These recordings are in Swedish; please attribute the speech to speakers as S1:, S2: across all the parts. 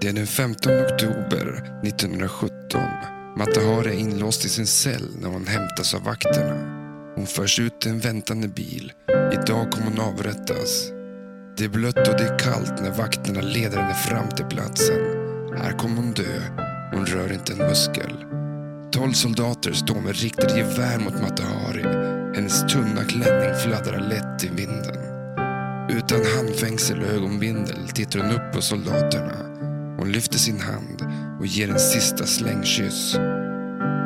S1: Det är den 15 oktober 1917. Matahari är inlåst i sin cell när hon hämtas av vakterna. Hon förs ut till en väntande bil. Idag kommer hon avrättas. Det är blött och det är kallt när vakterna leder henne fram till platsen. Här kommer hon dö. Hon rör inte en muskel. Tolv soldater står med riktade gevär mot Matahari. Hennes tunna klänning fladdrar lätt i vinden. Utan handfängsel och ögonbindel tittar hon upp på soldaterna. Hon lyfter sin hand och ger en sista slängkyss.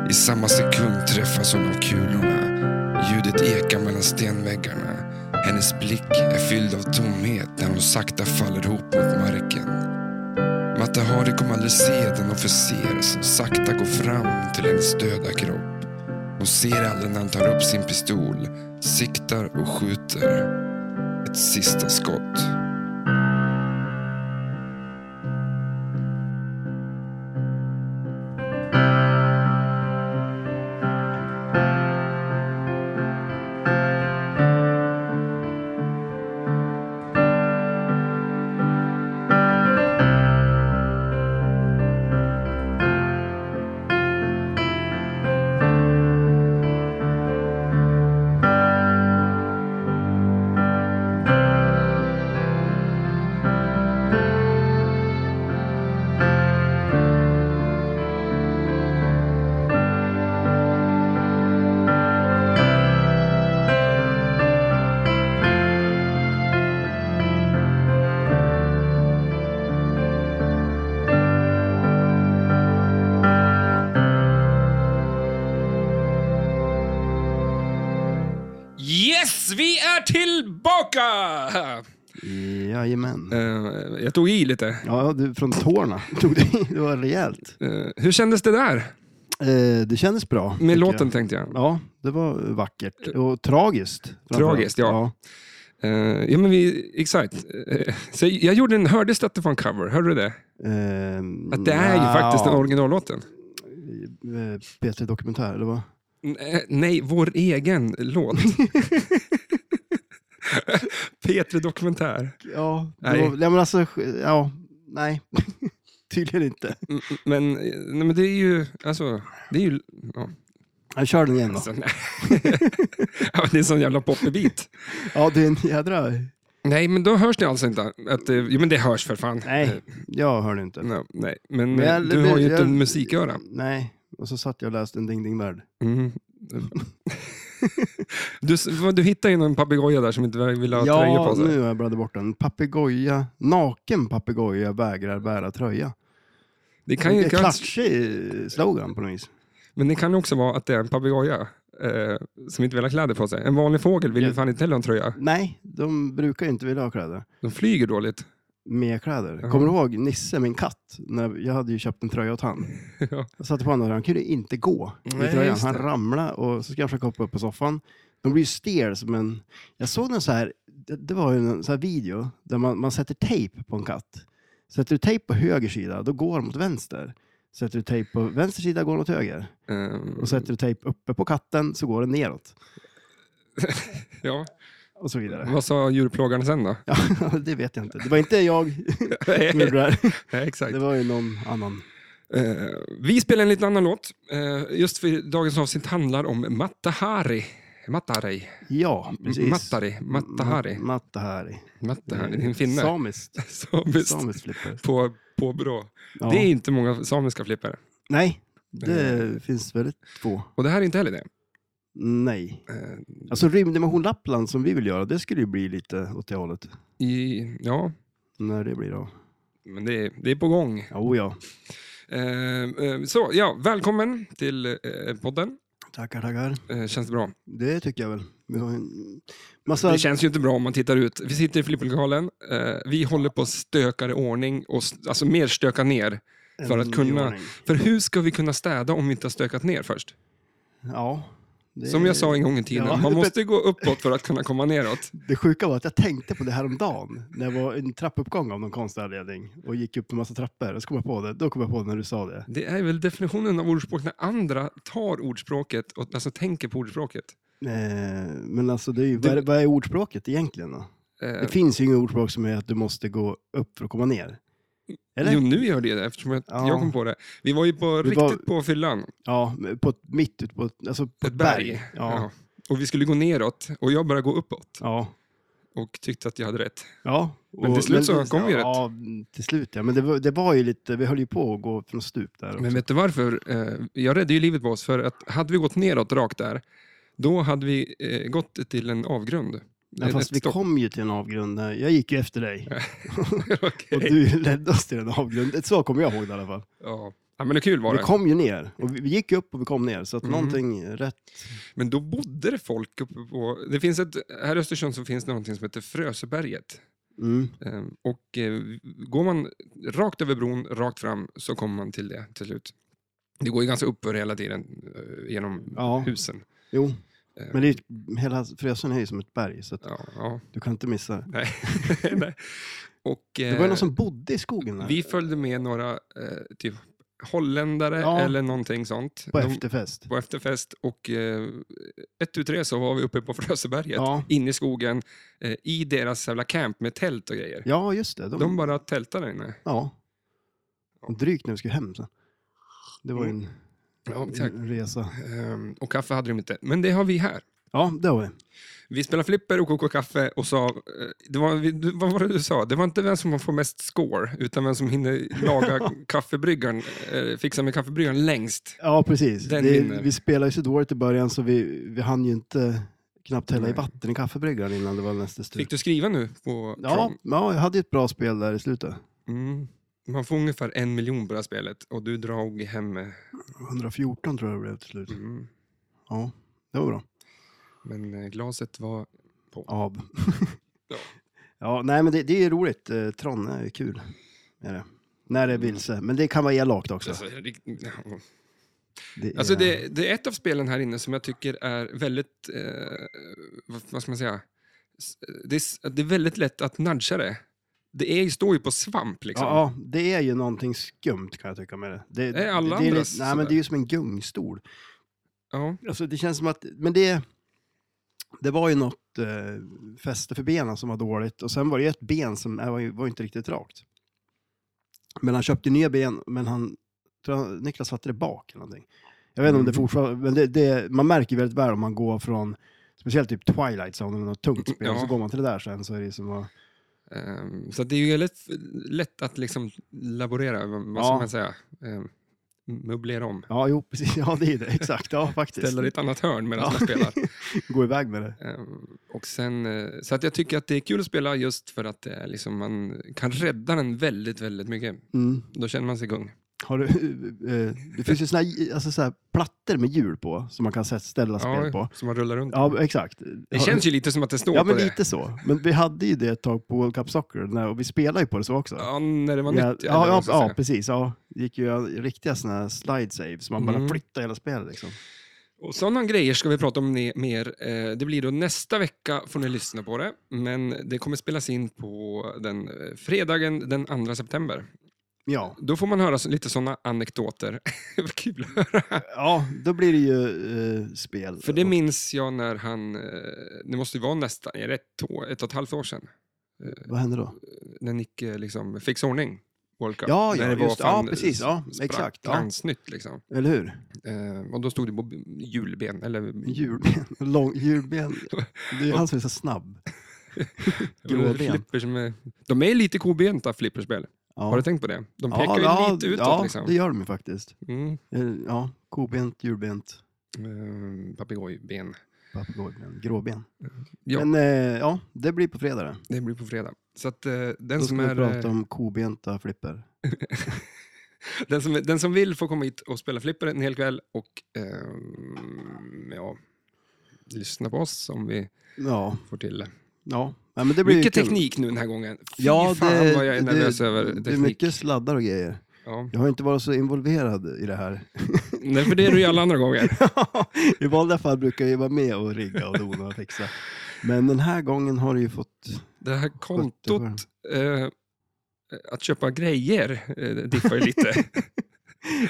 S1: I samma sekund träffas hon av kulorna. Ljudet ekar mellan stenväggarna. Hennes blick är fylld av tomhet när hon sakta faller ihop mot marken. Matahari kommer aldrig se den officer som sakta går fram till hennes döda kropp. Hon ser aldrig när han tar upp sin pistol, siktar och skjuter. Ett sista skott.
S2: Yes, vi är tillbaka!
S3: Jajamän.
S2: Eh, jag tog i lite.
S3: Ja, du, från tårna tog det, i. det var rejält.
S2: Eh, hur kändes det där?
S3: Eh, det kändes bra. tycker
S2: Med låten
S3: Jag.
S2: tänkte jag.
S3: Ja, det var vackert. Och tragiskt. framförallt.
S2: Tragiskt, ja. Eh, ja, men vi, exakt. Eh, så jag gjorde en, hördes det att det var en cover? Hörde du det?
S3: Ehm,
S2: Att det är ju
S3: nja.
S2: faktiskt den originallåten.
S3: Eh, P3 Dokumentär, eller vad?
S2: N- eh, Nej, vår egen låt. P3 Dokumentär.
S3: Ja, det
S2: Nej.
S3: Var, nej, men alltså, ja, nej. Tydligen inte.
S2: Mm, Men, eh, nej, men det är ju... Alltså, det är ju ja,
S3: Jag kör den igen då.
S2: alltså, nej. ja, men det är en sån jävla poppig bit.
S3: Ja, det är en jädra...
S2: Nej, men då hörs det alltså inte. Att, eh, jo, men det hörs för fan.
S3: Nej, jag hör den inte.
S2: Eh, no, nej. Men,
S3: Men
S2: eh,
S3: jag-
S2: du har ju
S3: jag-
S2: inte en musiköra.
S3: Nej, och så satt jag och läste en Ding Ding Värld.
S2: Mm. du, s- vad- du hittade ju någon papegoja där som inte ville ha tröja på sig.
S3: nu har jag bladdat bort den. Papegoja, naken papegoja vägrar bära tröja.
S2: Det kan
S3: Det
S2: ju,
S3: är
S2: kan,
S3: klatschig slogan på något vis.
S2: men det kan ju också vara att det är en papegoja eh, som inte vill ha kläder på sig. En vanlig fågel vill ju
S3: Ja.
S2: fan inte heller ha en tröja.
S3: Nej, de brukar ju inte vilja ha kläder.
S2: De flyger dåligt.
S3: Med kläder.
S2: Ja.
S3: Kommer du ihåg Nisse, min katt? När jag hade ju köpt en tröja åt han.
S2: Ja.
S3: Jag satte på honom och han kunde inte gå i
S2: Nej,
S3: tröjan.
S2: just det.
S3: Han ramlade och så ska han försöka hoppa upp på soffan. De blir ju stel som en... Jag såg en så här, det, det var ju en så här video där man, man sätter tejp på en katt. Sätter du tejp på höger sida, då går de åt vänster. Sätter du tejp på vänster sida går de åt höger.
S2: Ehm,
S3: Och sätter du tejp uppe på katten så går den neråt.
S2: ja.
S3: Och så vidare.
S2: Vad sa djurplågaren sen då?
S3: Ja, det vet jag inte. Det var inte jag som gjorde det här.
S2: Nej, exakt.
S3: Det var ju någon annan.
S2: Eh, vi spelar en liten annan låt. Eh, just för dagens avsnitt handlar om Matahari. Matahari.
S3: Ja, precis.
S2: Matahari. Matahari.
S3: Ma- Matahari.
S2: Matahari.
S3: Mm.
S2: Det är en finne.
S3: Samiskt.
S2: Samiskt.
S3: Samiskt flipper.
S2: På, på bra.
S3: Ja.
S2: Det är Eh. inte många samiska flippare.
S3: Nej, det finns väldigt få.
S2: Och det här är inte heller det.
S3: Nej.
S2: Eh,
S3: Alltså rymddimension Lappland som vi vill göra, det skulle ju bli lite åt det hållet.
S2: i, ja,
S3: När det blir av.
S2: men det, är- det är på gång.
S3: Jo, ja.
S2: Eh, eh, så, ja, välkommen till eh, podden.
S3: Tackar, tackar.
S2: Eh, känns det bra?
S3: Det tycker jag väl. Vi har en massa...
S2: Det känns ju inte bra om man tittar ut. Vi sitter i flipplokalen. Eh, vi håller på att stöka i ordning, och, s- alltså mer stöka ner. för att
S3: en
S2: kunna-
S3: nyordning.
S2: För hur ska vi kunna städa om vi inte har stökat ner först?
S3: Ja. Det...
S2: Som jag sa en gång i tiden,
S3: Ja.
S2: man måste gå uppåt för att kunna komma neråt.
S3: Det sjuka var att jag tänkte på det här om dagen när jag var i en trappuppgång av någon konstig anledning och gick upp en massa trappor. Och så kom jag på det. Då kom jag på det när du sa det.
S2: Det är väl definitionen av ordspråk när andra tar ordspråket och alltså tänker på ordspråket.
S3: Eh, men alltså, det är ju...
S2: Du-
S3: vad, är, vad är ordspråket egentligen? Då?
S2: Eh,
S3: Det finns ju inget ordspråk som är att du måste gå upp för att komma ner. Eller?
S2: Eh, Jo, nu gör det det eftersom jag,
S3: Ja.
S2: jag kom på det. Vi var ju på,
S3: Vi
S2: riktigt
S3: var-
S2: på fyllan.
S3: Ja, på, ett- mitt ute på ett, alltså på ett berg. Ja.
S2: Ja. Och vi skulle gå neråt och jag började gå uppåt
S3: Ja.
S2: och tyckte att jag hade rätt.
S3: Ja,
S2: Men till slut så kom vi
S3: Ja, mm, till slut ja. Men det var, det var ju lite, vi höll ju på att gå från stup där.
S2: Men
S3: också.
S2: vet du varför? Eh, Jag räddade ju livet på oss för att hade vi gått neråt rakt där, då hade vi eh, gått till en avgrund.
S3: ja, fast
S2: Ett
S3: vi
S2: stopp.
S3: kom ju till en avgrund. där. Jag gick ju efter dig
S2: Okej.
S3: och du ledde oss till en avgrund. Så kommer jag ihåg det i alla fall.
S2: ja. ja, men det kul var
S3: Vi
S2: det.
S3: kom ju ner. Och vi, vi gick ju upp och vi kom ner. Så att
S2: Mm.
S3: någonting rätt.
S2: Men då bodde det folk uppe på... Det finns ett, här i Östersund så finns det någonting som heter Fröseberget.
S3: Mm.
S2: Eh, Och eh, går man rakt över bron, rakt fram, så kommer man till det till slut. Det går ju ganska uppför hela tiden eh, genom
S3: Ja,
S2: husen.
S3: jo.
S2: Eh,
S3: Men det är, ju- hela Frösön är ju som ett berg så att
S2: Ja, ja.
S3: du kan inte missa det.
S2: Nej. Nej. Och,
S3: Det var ju
S2: eh,
S3: någon som bodde i skogen där.
S2: Vi följde med några eh, typ holländare
S3: Ja.
S2: eller någonting sånt.
S3: På
S2: De-
S3: efterfest.
S2: på efterfest och eh, ett tu tre så var vi uppe på Fröseberget.
S3: Ja.
S2: Inne i skogen, eh, i deras jävla camp med tält och grejer.
S3: ja, just det. De,
S2: De bara tältade där inne.
S3: Ja. Drygt när vi skulle hem sen. Det var ju en,
S2: Mm. Ja, exakt.
S3: en resa.
S2: Ehm, och kaffe hade de inte. Men det har vi här.
S3: Ja, det var det.
S2: Vi spelade flipper och kokade kaffe och sa, eh, det var, vi- du- vad var det du sa? Det var inte vem som får mest score, utan vem som hinner laga kaffebryggaren, eh, fixa med kaffebryggaren längst.
S3: Ja, precis.
S2: Den
S3: Det,
S2: vinner.
S3: vi spelade ju så dåligt i början så vi, vi hann ju inte knappt hälla i
S2: Nej.
S3: vatten i kaffebryggaren innan det var nästa
S2: Fick
S3: stund.
S2: du skriva nu på
S3: Ja,
S2: Tron?
S3: ja, jag hade ju ett bra spel där i slutet.
S2: Mm. Man får ungefär en miljon på det här spelet och du drog hem... eh,
S3: 114 tror jag det blev till slut.
S2: Mm.
S3: Ja, det var bra.
S2: Men eh, glaset var...
S3: Av.
S2: Ja.
S3: ja, nej men det, det är ju roligt. Eh, Tron är ju kul. Är det. När det är vilse. Men det kan vara elakt också.
S2: Mm. Alltså, rikt- ja.
S3: Det är,
S2: alltså det, det är ett av spelen här inne som jag tycker är väldigt... Eh, vad- vad ska man säga? S- Det är, s- det är väldigt lätt att nudga det. Det är, står ju på svamp liksom.
S3: Ja, ja, det är ju någonting skumt kan jag tycka med det. Det,
S2: Det är alla
S3: det, det är
S2: andras
S3: lite, Nej, men
S2: sådär.
S3: det är ju som en gungstol.
S2: Ja.
S3: Alltså det känns som att, men det, det var ju något eh, fäste för benen som var dåligt och sen var det ju ett ben som eh, var, ju- var ju inte riktigt rakt. Men han köpte nya ben, men han, tror han, Niklas satte det bak eller någonting. Jag vet inte om det
S2: Mm.
S3: fortfarande, men det, det, man märker ju väldigt väl om man går från, speciellt typ Twilight Zone, eller något tungt spel,
S2: Ja.
S3: och så går man till det där sen så är det som att,
S2: Ehm, så att det är ju väldigt lätt att liksom laborera, vad vad ska
S3: Ja.
S2: man säga? Ehm, möblera om.
S3: ja jo precis, ja det är det, exakt, ja faktiskt.
S2: Ställa det i ett annat hörn medan
S3: Ja.
S2: man spelar.
S3: Gå iväg med det.
S2: Ehm, Och sen, eh, så att jag tycker att det är kul att spela just för att det är liksom, man kan rädda den väldigt, väldigt mycket.
S3: Mm.
S2: Då känner man sig gung.
S3: Har du, eh, det finns ju såna, här- alltså såna här plattor med hjul på som man kan sätta- ställa spel på.
S2: som man rullar runt.
S3: Ja, exakt.
S2: Det känns ju lite som att det står
S3: Ja,
S2: på
S3: men
S2: det.
S3: lite så. Men vi hade ju det ett tag på World Cup Soccer när, och vi spelade ju på det så också.
S2: Ja, när det var
S3: ja,
S2: nytt. eller
S3: ja,
S2: vad
S3: ja,
S2: man ska
S3: ja,
S2: säga.
S3: precis. Ja. Det gick ju riktiga såna här slide saves. Man bara
S2: Mm.
S3: flyttade hela spelet liksom.
S2: Och sådana grejer ska vi prata om ne- mer. Eh, Det blir då nästa vecka får ni lyssna på det. Men det kommer spelas in på den eh, fredagen den 2 september.
S3: Ja.
S2: Då får man höra så- lite sådana anekdoter. Vad kul att höra.
S3: ja, då blir det ju eh, spel.
S2: För det minns jag när han, eh, det måste ju vara nästan, är det ett, år, ett och ett halvt år sedan?
S3: Vad hände då?
S2: när Nick eh, liksom fick ordning World Cup.
S3: Ja,
S2: när
S3: ja, just det. Ja, precis. Ja,
S2: sprack-
S3: exakt, ja.
S2: glansnytt, liksom.
S3: Eller hur?
S2: Eh, och då stod det på b- julben, eller
S3: Hjulben. Lång, hjulben. Det är ju han som är så snabb. gråben.
S2: flippers med, De är lite kobenta flipperspel.
S3: Ja.
S2: Har du tänkt på det? De pekar ju lite utåt
S3: ja, det
S2: liksom.
S3: gör de ju faktiskt.
S2: Mm.
S3: Eh, Ja, kobent, djurbent,
S2: Eh, Papegojben.
S3: papegojben, gråben.
S2: Ja.
S3: Men eh, ja, det blir på fredag det.
S2: Det blir på fredag. Så att, eh, den,
S3: Då
S2: som
S3: ska vi
S2: är,
S3: prata
S2: eh,
S3: om kobenta flipper.
S2: den, som, den som vill får komma hit och spela flipper en hel kväll och eh, ja, lyssna på oss om vi
S3: Ja,
S2: får till det.
S3: ja. ja men det blir ju
S2: mycket
S3: kul.
S2: teknik nu den här gången. Fy
S3: Ja,
S2: fan
S3: det,
S2: vad jag är
S3: det-
S2: nervös över
S3: det,
S2: teknik.
S3: är mycket sladdar och grejer.
S2: Ja.
S3: Jag har inte varit så involverad i det här.
S2: Nej, för det är du ju alla andra gånger.
S3: I vanliga fall brukar jag ju vara med och rigga och dona och fixa. Men den här gången har du ju fått...
S2: Det här kontot,
S3: Sjutton.
S2: eh, att köpa grejer, eh, det diffar ju lite.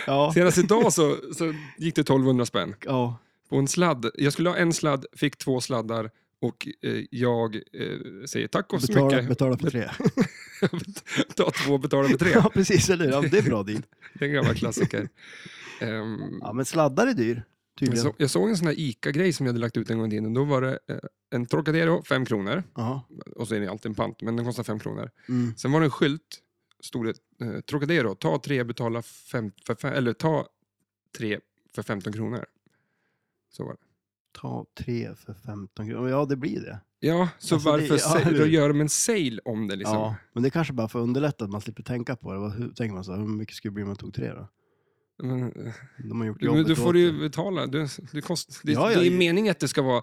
S3: Ja,
S2: Senast idag så, så gick det 1200 spänn
S3: ja,
S2: på en sladd. Jag skulle ha en sladd, fick två sladdar och eh, jag eh, säger tack och så
S3: betala,
S2: mycket.
S3: betala för tre.
S2: Ta två, betala med tre.
S3: Ja, precis. Eller hur? Ja, det är bra deal.
S2: Det är en gammal klassiker. Ehm,
S3: Ja, men sladdar är dyr,
S2: jag,
S3: tydligen.
S2: så, jag såg en sån här ICA-grej som jag hade lagt ut en gång i tiden. Då var det eh, en Trocadero, fem kronor.
S3: Ja.
S2: Och så är det alltid en pant, men den kostar fem kronor.
S3: Mm.
S2: Sen var det en skylt, stod det eh, Trocadero, ta tre, betala fem, för fem, eller ta tre för 15 kronor. Så var det.
S3: Ta tre för 15 kronor. Ja, det blir det.
S2: Ja, så
S3: Alltså, det-
S2: varför
S3: ja,
S2: sa-
S3: eller
S2: då
S3: hur?
S2: gör de en sale om det liksom?
S3: Ja, men det är kanske bara för att underlätta att man slipper tänka på det. Vad- Hur, tänker man så här, hur mycket skulle det bli om man tog tre då?
S2: Men,
S3: De har gjort
S2: men
S3: jobbet
S2: du får
S3: åt
S2: du ju
S3: dig.
S2: betala. Du, du kost, det,
S3: Ja, ja,
S2: det är
S3: ju-
S2: meningen att det ska vara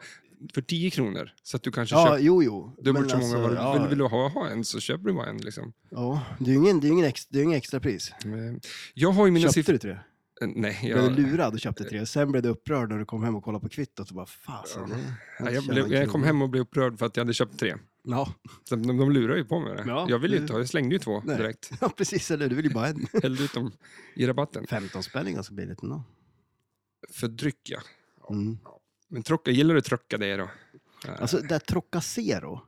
S2: för 10 kronor, så att du kanske
S3: Ja,
S2: köper
S3: jo, jo.
S2: dubbelt
S3: Men alltså,
S2: så många. vad du
S3: ja,
S2: vill, vill du ha, ha en så köper du bara en. Liksom.
S3: ja, det är ju ingen, det är ingen, ex, det är ingen extra pris.
S2: Men Jag har ju mina
S3: Köpte
S2: siffror... eh,
S3: du tre?
S2: Nej,
S3: Jag
S2: jag,
S3: blev lurad och köpte tre. Sen blev du upprörd när du kom hem och kollade på kvittot och bara fasen.
S2: Nej, jag, blev, jag kom hem och blev upprörd för att jag hade köpt tre.
S3: Ja,
S2: Så De, de lurar ju på mig det.
S3: Ja,
S2: jag, vill ju
S3: det-
S2: inte, ha- jag slängde ju två
S3: Nej.
S2: direkt.
S3: ja precis. Eller hur? Du vill ju bara ha en.
S2: Hällde ut dem i rabatten.
S3: 15 spänn är ganska billigt ändå.
S2: För dryck, ja.
S3: Mm.
S2: Men trocka, gillar du Trocadero?
S3: Alltså det där Trocacero.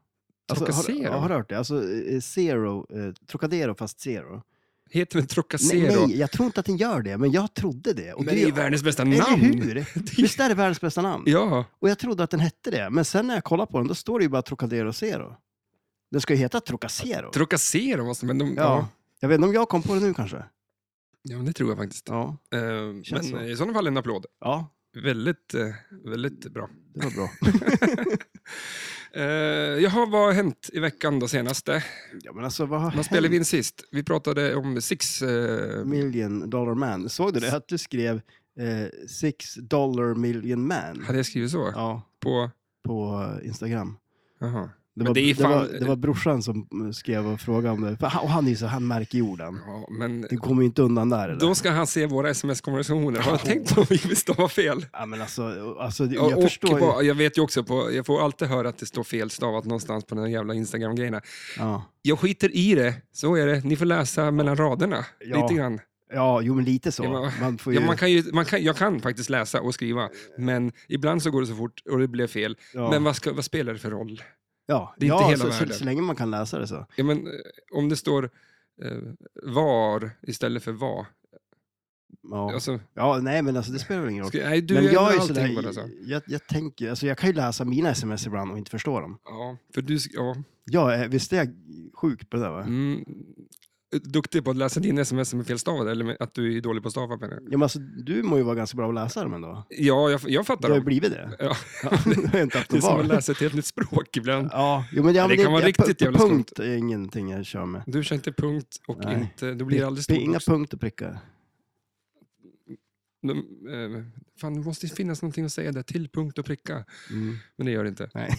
S3: Alltså,
S2: Trocacero?
S3: har, har du hört det? Alltså eh, zero, eh, Trocadero fast zero.
S2: Heter den Trocacero?
S3: Nej, nej, jag tror inte att den gör det, men jag trodde det.
S2: men det är ju världens bästa
S3: Eller
S2: namn!
S3: hur?
S2: Det är-
S3: Visst är det världens bästa namn?
S2: Ja,
S3: Och jag trodde att den hette det, men sen när jag kollade på den, då står det ju bara Trocadero Zero. Den ska ju heta Trocacero.
S2: Trocacero måste alltså, men de, ja.
S3: ja.
S2: Ja,
S3: Jag vet inte om jag kom på det nu kanske.
S2: men det tror jag faktiskt.
S3: Ja.
S2: Eh, men
S3: så.
S2: i sådana fall en applåd.
S3: Ja,
S2: Väldigt, eh, väldigt bra.
S3: det var bra.
S2: Uh, jaha, vad har hänt i veckan då senaste?
S3: ja, men alltså vad har
S2: Vad spelade vi in sist? Vi pratade om Six... eh,
S3: Million Dollar Man. Såg du det? Att du skrev eh, Six Dollar Million Man
S2: hade jag skrivit så?
S3: ja,
S2: På...
S3: på eh, Instagram.
S2: Jaha.
S3: Det
S2: Men
S3: var,
S2: det är
S3: det,
S2: fan-
S3: var, det var brorsan som skrev och frågade om det. För han- Och han är ju så, han märker ju orden.
S2: Ja, men
S3: Det kommer ju inte undan där eller?
S2: Då ska han se våra sms-konversationer. Har han tänkt på om vi vill stava fel?
S3: Ja, men alltså, alltså
S2: Ja,
S3: jag
S2: och
S3: förstår ju.
S2: bara- jag vet ju också, på, jag får alltid höra att det står felstavat någonstans på den här jävla Instagram-grejerna.
S3: Ja.
S2: Jag skiter i det, så är det. Ni får läsa mellan raderna.
S3: Ja,
S2: lite grann.
S3: ja, jo men lite så.
S2: Ja, men-
S3: man får ju...
S2: Ja, man kan ju, man kan, jag kan faktiskt läsa och skriva, men ibland så går det så fort och det blev fel.
S3: ja.
S2: Men vad, ska, vad spelar det för roll?
S3: Ja,
S2: Det är
S3: ja
S2: inte hela
S3: så,
S2: världen.
S3: Så, så länge man kan läsa det så.
S2: Ja, men, eh, om det står eh, var istället för vad.
S3: Ja,
S2: Alltså,
S3: ja nej men alltså det spelar väl ingen roll.
S2: ska, nej, du
S3: men
S2: ändrar
S3: jag, är
S2: allting
S3: sådär,
S2: på det. Så.
S3: jag, jag tänker, alltså jag kan ju läsa mina sms ibland och inte förstå dem.
S2: Ja, för du, sk- ja,
S3: Jag är, visst är jag sjuk på det där va?
S2: Mm. Duktig på att läsa din sms med felstavade, eller med- att du är dålig på att stava menar jag.
S3: Ja, men alltså, du må ju vara ganska bra att läsa dem ändå.
S2: Ja, jag, jag fattar
S3: Du har ju
S2: dem.
S3: blivit det.
S2: Ja,
S3: Ja, du har ju inte haft
S2: det är
S3: något
S2: som att
S3: val.
S2: läsa ett helt nytt språk ibland.
S3: Ja, jo, men, ja,
S2: Ja,
S3: men
S2: det kan vara
S3: jag-
S2: riktigt
S3: pu-
S2: jävla
S3: Punkt är ingenting jag kör med.
S2: Du kör inte punkt och
S3: Nej.
S2: inte... Du blir aldrig
S3: Det är inga
S2: stor.
S3: punkt och prickar.
S2: De, eh, fan, det måste ju finnas någonting att säga där till punkt och pricka.
S3: Mm.
S2: Men det gör det inte.
S3: Nej.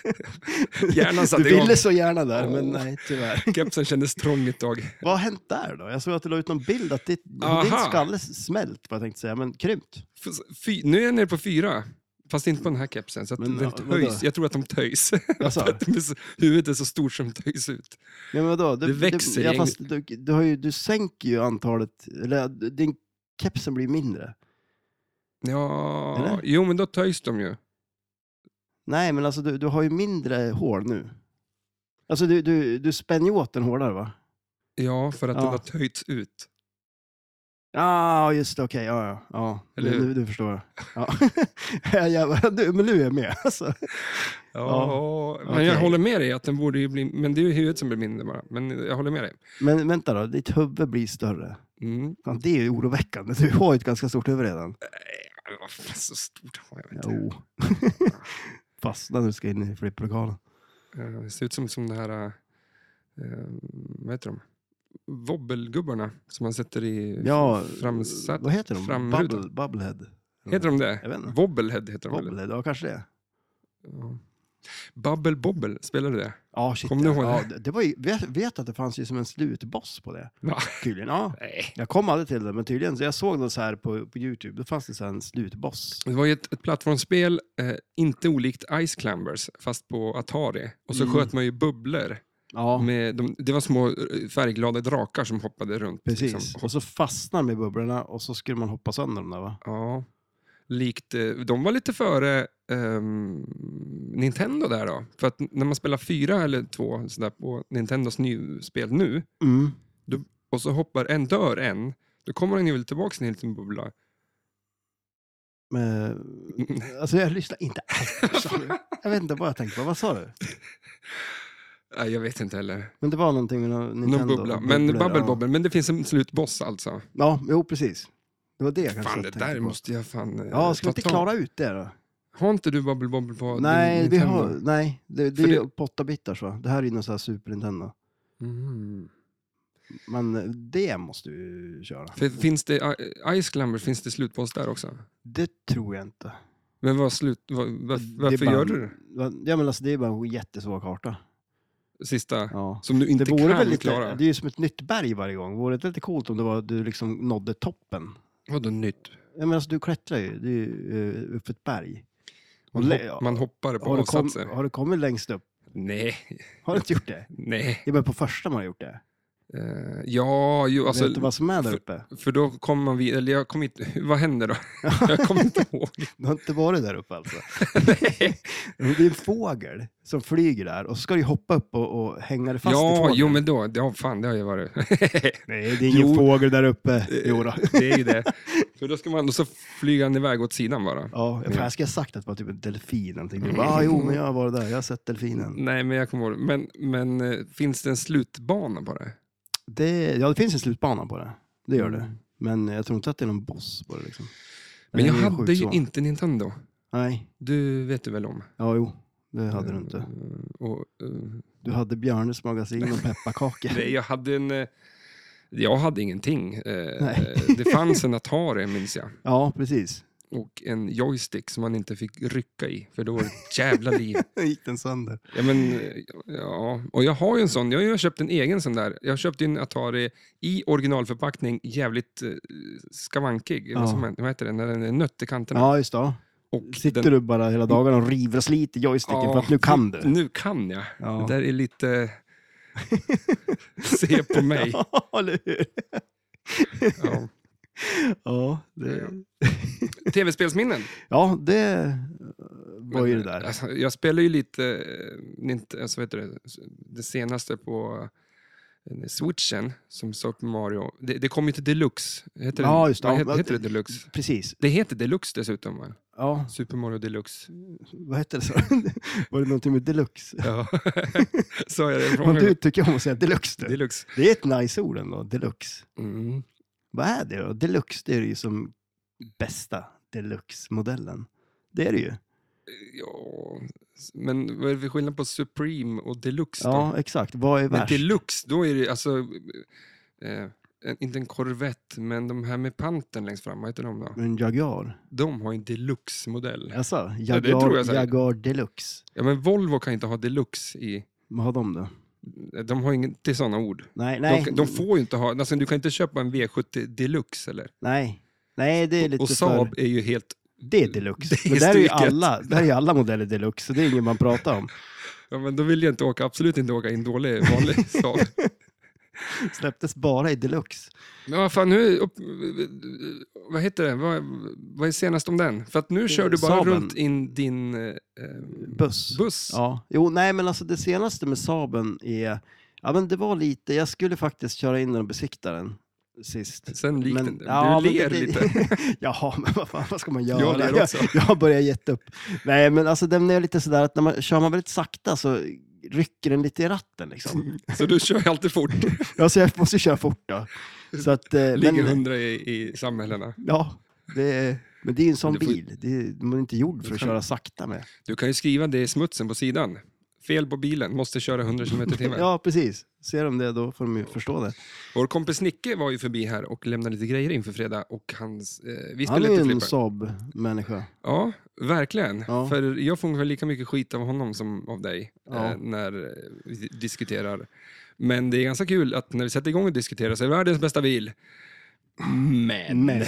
S2: Hjärnan satte
S3: du
S2: igång.
S3: ville så gärna där, men
S2: Åh.
S3: nej tyvärr.
S2: Kepsen kändes trång ett tag.
S3: Vad har hänt där då? Jag såg att du la ut någon bild att ditt,
S2: Aha.
S3: din skalle smält, vad jag tänkte säga, men krympt.
S2: F- Fy, nu är jag nere på fyra. Fast inte på den här kepsen. Så att
S3: Men,
S2: den
S3: ja, vadå?
S2: töjs. Jag tror att de töjs.
S3: Alltså,
S2: Att de är så- Huvudet är så stort som töjs ut.
S3: ja, men vadå? Du,
S2: Det växer
S3: Du, ja,
S2: gäng.
S3: fast du, du, har ju, du sänker ju antalet, eller din kepsen blir mindre.
S2: Ja,
S3: Eller?
S2: jo men då töjs de ju.
S3: Nej, men alltså du, du har ju mindre hår nu. Alltså du, du, du spänner ju åt den hårdare va?
S2: Ja, för att
S3: Ja.
S2: den har töjts ut.
S3: Ja, just det, okej, ja, ja, ja.
S2: Eller
S3: Du,
S2: hur?
S3: du, du förstår. Ja. ja, jävlar, du, men nu är jag med alltså.
S2: Ja, men jag
S3: okej.
S2: håller med dig att den borde ju bli... Men det är ju huvudet som blir mindre bara. Men jag håller med dig.
S3: Men vänta då, ditt huvud blir större.
S2: Mm.
S3: Fan, det är ju oroväckande, du har ju ett ganska stort huvud redan.
S2: Äh, vad fan, Så stort har jag inte.
S3: Jo.
S2: typ.
S3: Fastna när du ska in i flipplokalen.
S2: Eh, Det ser ut som, som det här... eh, vad heter de? Wobbelgubbarna som man sätter i
S3: Ja,
S2: framsätet.
S3: vad heter de?
S2: framruta.
S3: Bubble, bubblehead?
S2: Heter de det?
S3: Jag vet inte.
S2: Wobblehead heter de väl?
S3: Bubblehead, ja kanske det.
S2: Ja. Bubble Bobble, spelade du det?
S3: Ja, shit.
S2: Kommer du ihåg
S3: ja,
S2: det?
S3: det? det var ju, vet, vet att det fanns ju som en slutboss på det.
S2: Va?
S3: Tydligen, ja.
S2: Nej.
S3: Jag kom aldrig till det, men tydligen. Så jag såg det så här på, på Youtube, då fanns det så här en slutboss.
S2: Det var ju ett, ett plattformsspel, eh, inte olikt Ice Climbers, fast på Atari. Och så
S3: Mm.
S2: sköt man ju bubblor.
S3: Ja,
S2: Med de, det var små eh, färgglada drakar som hoppade runt.
S3: precis.
S2: liksom.
S3: Och så fastnar med bubblorna och så skulle man hoppa sönder dem där va?
S2: Ja. Likt, eh, de var lite före ehm, Nintendo där då. För att n- när man spelar fyra eller två sådär på Nintendos nyspel nu
S3: Mm.
S2: och så hoppar en, dör en, då kommer den ju väl tillbaka till en liten bubbla.
S3: Men, alltså jag lyssnar inte alls. vad sa du? Jag vet inte vad jag tänkte på. Vad sa du?
S2: Nej, jag vet inte heller.
S3: Men det var någonting med någon Nintendo.
S2: Någon bubbla. Men
S3: bubblor,
S2: Bubble
S3: ja.
S2: Bobble, men det finns en slutboss alltså.
S3: Ja, jo precis. Det var det jag kanske
S2: Fan, det
S3: tänkte
S2: där
S3: på.
S2: måste jag fan eh,
S3: Ja, ska vi inte
S2: ta tag-
S3: klara ut det då?
S2: Har inte du Bubble Bobble på din
S3: nej, vi
S2: Nintendo?
S3: har, nej, det, det
S2: För
S3: är
S2: det-
S3: ju på åtta bitar så. Det här är ju någon sån här Super Nintendo.
S2: Mhm.
S3: Men eh, det måste du köra.
S2: För, finns det eh, Ice Climbers, finns det slutboss där också?
S3: Det tror jag inte.
S2: Men vad slut, vad,
S3: Det
S2: varf-
S3: är
S2: varför
S3: bara-
S2: gör du
S3: Ja, men alltså, det är bara en jättesvår karta.
S2: det? Sista,
S3: Ja.
S2: som du inte
S3: det vore
S2: kan
S3: väl lite,
S2: klara?
S3: Det är ju som ett nytt berg varje gång. Vore det inte lite coolt om det var, du liksom nådde toppen?
S2: Vadå nytt?
S3: Jag menar, alltså, du klättrar ju. Det är ju eh, upp ett berg.
S2: Man,
S3: Lä-
S2: hopp, man hoppar på
S3: Har du, kom,
S2: avsatser?
S3: har du kommit längst upp?
S2: Nej,
S3: Har du inte gjort det?
S2: nej.
S3: Det är bara på första man har gjort det.
S2: Eh, ja, ju, alltså,
S3: Vet du vad som är där uppe?
S2: för då kommer man vid, eller jag kommer inte, vad händer då? jag kommer inte ihåg.
S3: Du har inte varit där uppe alltså? Det är en fågel som flyger där och så ska du hoppa upp och, och hänga dig fast i
S2: ja,
S3: fågeln.
S2: jo men då, ja fan det har ju varit.
S3: Nej, det är ingen
S2: Jo. Eh,
S3: fågel där uppe. Jo då.
S2: det är ju det. För då ska man, och så flyger han iväg åt sidan bara.
S3: Ja, jag, jag ska ha sagt att det var typ en delfin. någonting. Du bara, ah, jo, men jag har varit där. Jag har sett delfinen.
S2: Nej, men jag kommer ihåg. Men, men eh, finns det en slutbana på det?
S3: Det, ja, det finns en slutbana på det. Det gör det. Men jag tror inte att det är någon boss på det. Liksom.
S2: Mm. Men jag
S3: Den är
S2: hade
S3: ju sjukt
S2: ju
S3: svår.
S2: inte Nintendo.
S3: Nej,
S2: Du vet du väl om?
S3: ja, jo. Det hade du inte.
S2: Eh, Och, eh,
S3: Du hade Björnes magasin och pepparkakor.
S2: nej, jag hade en... eh, Jag hade ingenting. Eh,
S3: Nej.
S2: eh, Det fanns en Atari, minns jag.
S3: Ja, precis.
S2: Och en joystick som man inte fick rycka i, för då var det ett jävla liv.
S3: gick den sönder.
S2: Ja, men, eh, ja. Och jag har ju en sån. Jag har ju köpt en egen sån där. Jag köpte ju en Atari i originalförpackning, jävligt eh, skavankig. Vad,
S3: Ja.
S2: som, vad heter den? När den är nött i kanterna.
S3: Ja, just det.
S2: Och
S3: Sitter
S2: den,
S3: du bara hela dagarna och river och sliter joysticken
S2: Ja,
S3: för att nu kan du?
S2: Nu kan jag.
S3: Ja.
S2: Det där är lite... Se på mig.
S3: Ja, eller hur?
S2: Ja.
S3: Ja, det,
S2: Tv-spelsminnen.
S3: ja, det eh, var ju det
S2: Men,
S3: där.
S2: Alltså, jag spelar ju lite, eh, Nint- alltså, vet du, det, det senaste på eh, switchen som Super Mario. Det, det kom ju till Deluxe. Heter
S3: Ja,
S2: det,
S3: just det.
S2: vad
S3: Ja,
S2: heter,
S3: men-
S2: heter det Deluxe?
S3: Precis.
S2: Det heter Deluxe dessutom, va?
S3: Ja,
S2: Super Mario Deluxe.
S3: vad hette det? Så? Var det någonting med deluxe?
S2: Ja. Sa jag det?
S3: Om
S2: från-
S3: du tycker om att säga deluxe du.
S2: Deluxe.
S3: Det är ett nice ord ändå, deluxe.
S2: Mm.
S3: Vad är det då? Deluxe, det är ju som bästa deluxe-modellen. Det är det ju.
S2: Ja. Men vad är det för skillnad på Supreme och Deluxe? Då?
S3: Ja, exakt. Vad är
S2: Men
S3: värst?
S2: deluxe, då är det alltså... Eh, en- inte en Corvette, men de här med panten längst fram, vad heter de då?
S3: En Jaguar.
S2: De har ju en deluxe-modell. Ja.
S3: Alltså,
S2: det tror jag
S3: Jaguar,
S2: säkert.
S3: Jaguar deluxe.
S2: men Volvo kan ju inte ha deluxe i...
S3: Vad har de då?
S2: De har ju inte sådana ord.
S3: Nej, nej.
S2: De, de får ju inte ha... Alltså, du kan inte köpa en V70 deluxe, eller?
S3: Nej. Nej, det är lite
S2: Och
S3: för...
S2: Saab är ju helt...
S3: Det är deluxe.
S2: Det är
S3: Men där är ju
S2: struket.
S3: alla, där är ju alla modeller deluxe, så det är ingen man pratar om.
S2: Ja, men då vill jag inte åka, absolut inte åka i en dålig, vanlig Saab.
S3: Släpptes bara i deluxe.
S2: Men vad fan, nu... Upp, vad heter det? Vad, vad är senast om den? För att nu kör du bara
S3: Saaben.
S2: runt in din eh,
S3: Buss.
S2: buss.
S3: Ja. Jo, nej men alltså det senaste med Saaben är, ja men det var lite, jag skulle faktiskt köra in den och besikta den sist.
S2: Sen liknade
S3: Men-
S2: du
S3: ja, men
S2: ler
S3: det- det-
S2: lite.
S3: Jaha, men vad fan vad ska man göra?
S2: Jag ler också.
S3: jag, jag börjar gett upp. Nej men alltså den är lite sådär att när man, kör man väldigt sakta så rycker den lite i ratten liksom.
S2: Så du kör ju alltid fort.
S3: Alltså jag måste ju köra fort då. Så att, eh,
S2: Ligger
S3: men-
S2: hundra i, i samhällena.
S3: Ja, det är, men det är ju en sån
S2: Men du får-
S3: bil. Det är, man är inte gjord för att köra sakta med.
S2: Du kan ju skriva det i smutsen på sidan. Fel på bilen, måste köra 100 km i timmen.
S3: Ja, precis. Ser de det då får de ju förstå det.
S2: Vår kompis Nicke var ju förbi här och lämnade lite grejer inför fredag. Och hans, eh, vi
S3: Han
S2: skulle
S3: är ju
S2: lite
S3: en
S2: flipper.
S3: Saab-människa.
S2: Ja, verkligen.
S3: Ja.
S2: För jag får ungefär lika mycket skit av honom som av dig
S3: Ja.
S2: eh, när eh, vi diskuterar. Men det är ganska kul att när vi sätter igång och diskuterar så är det världens bästa bil. Men...
S3: Men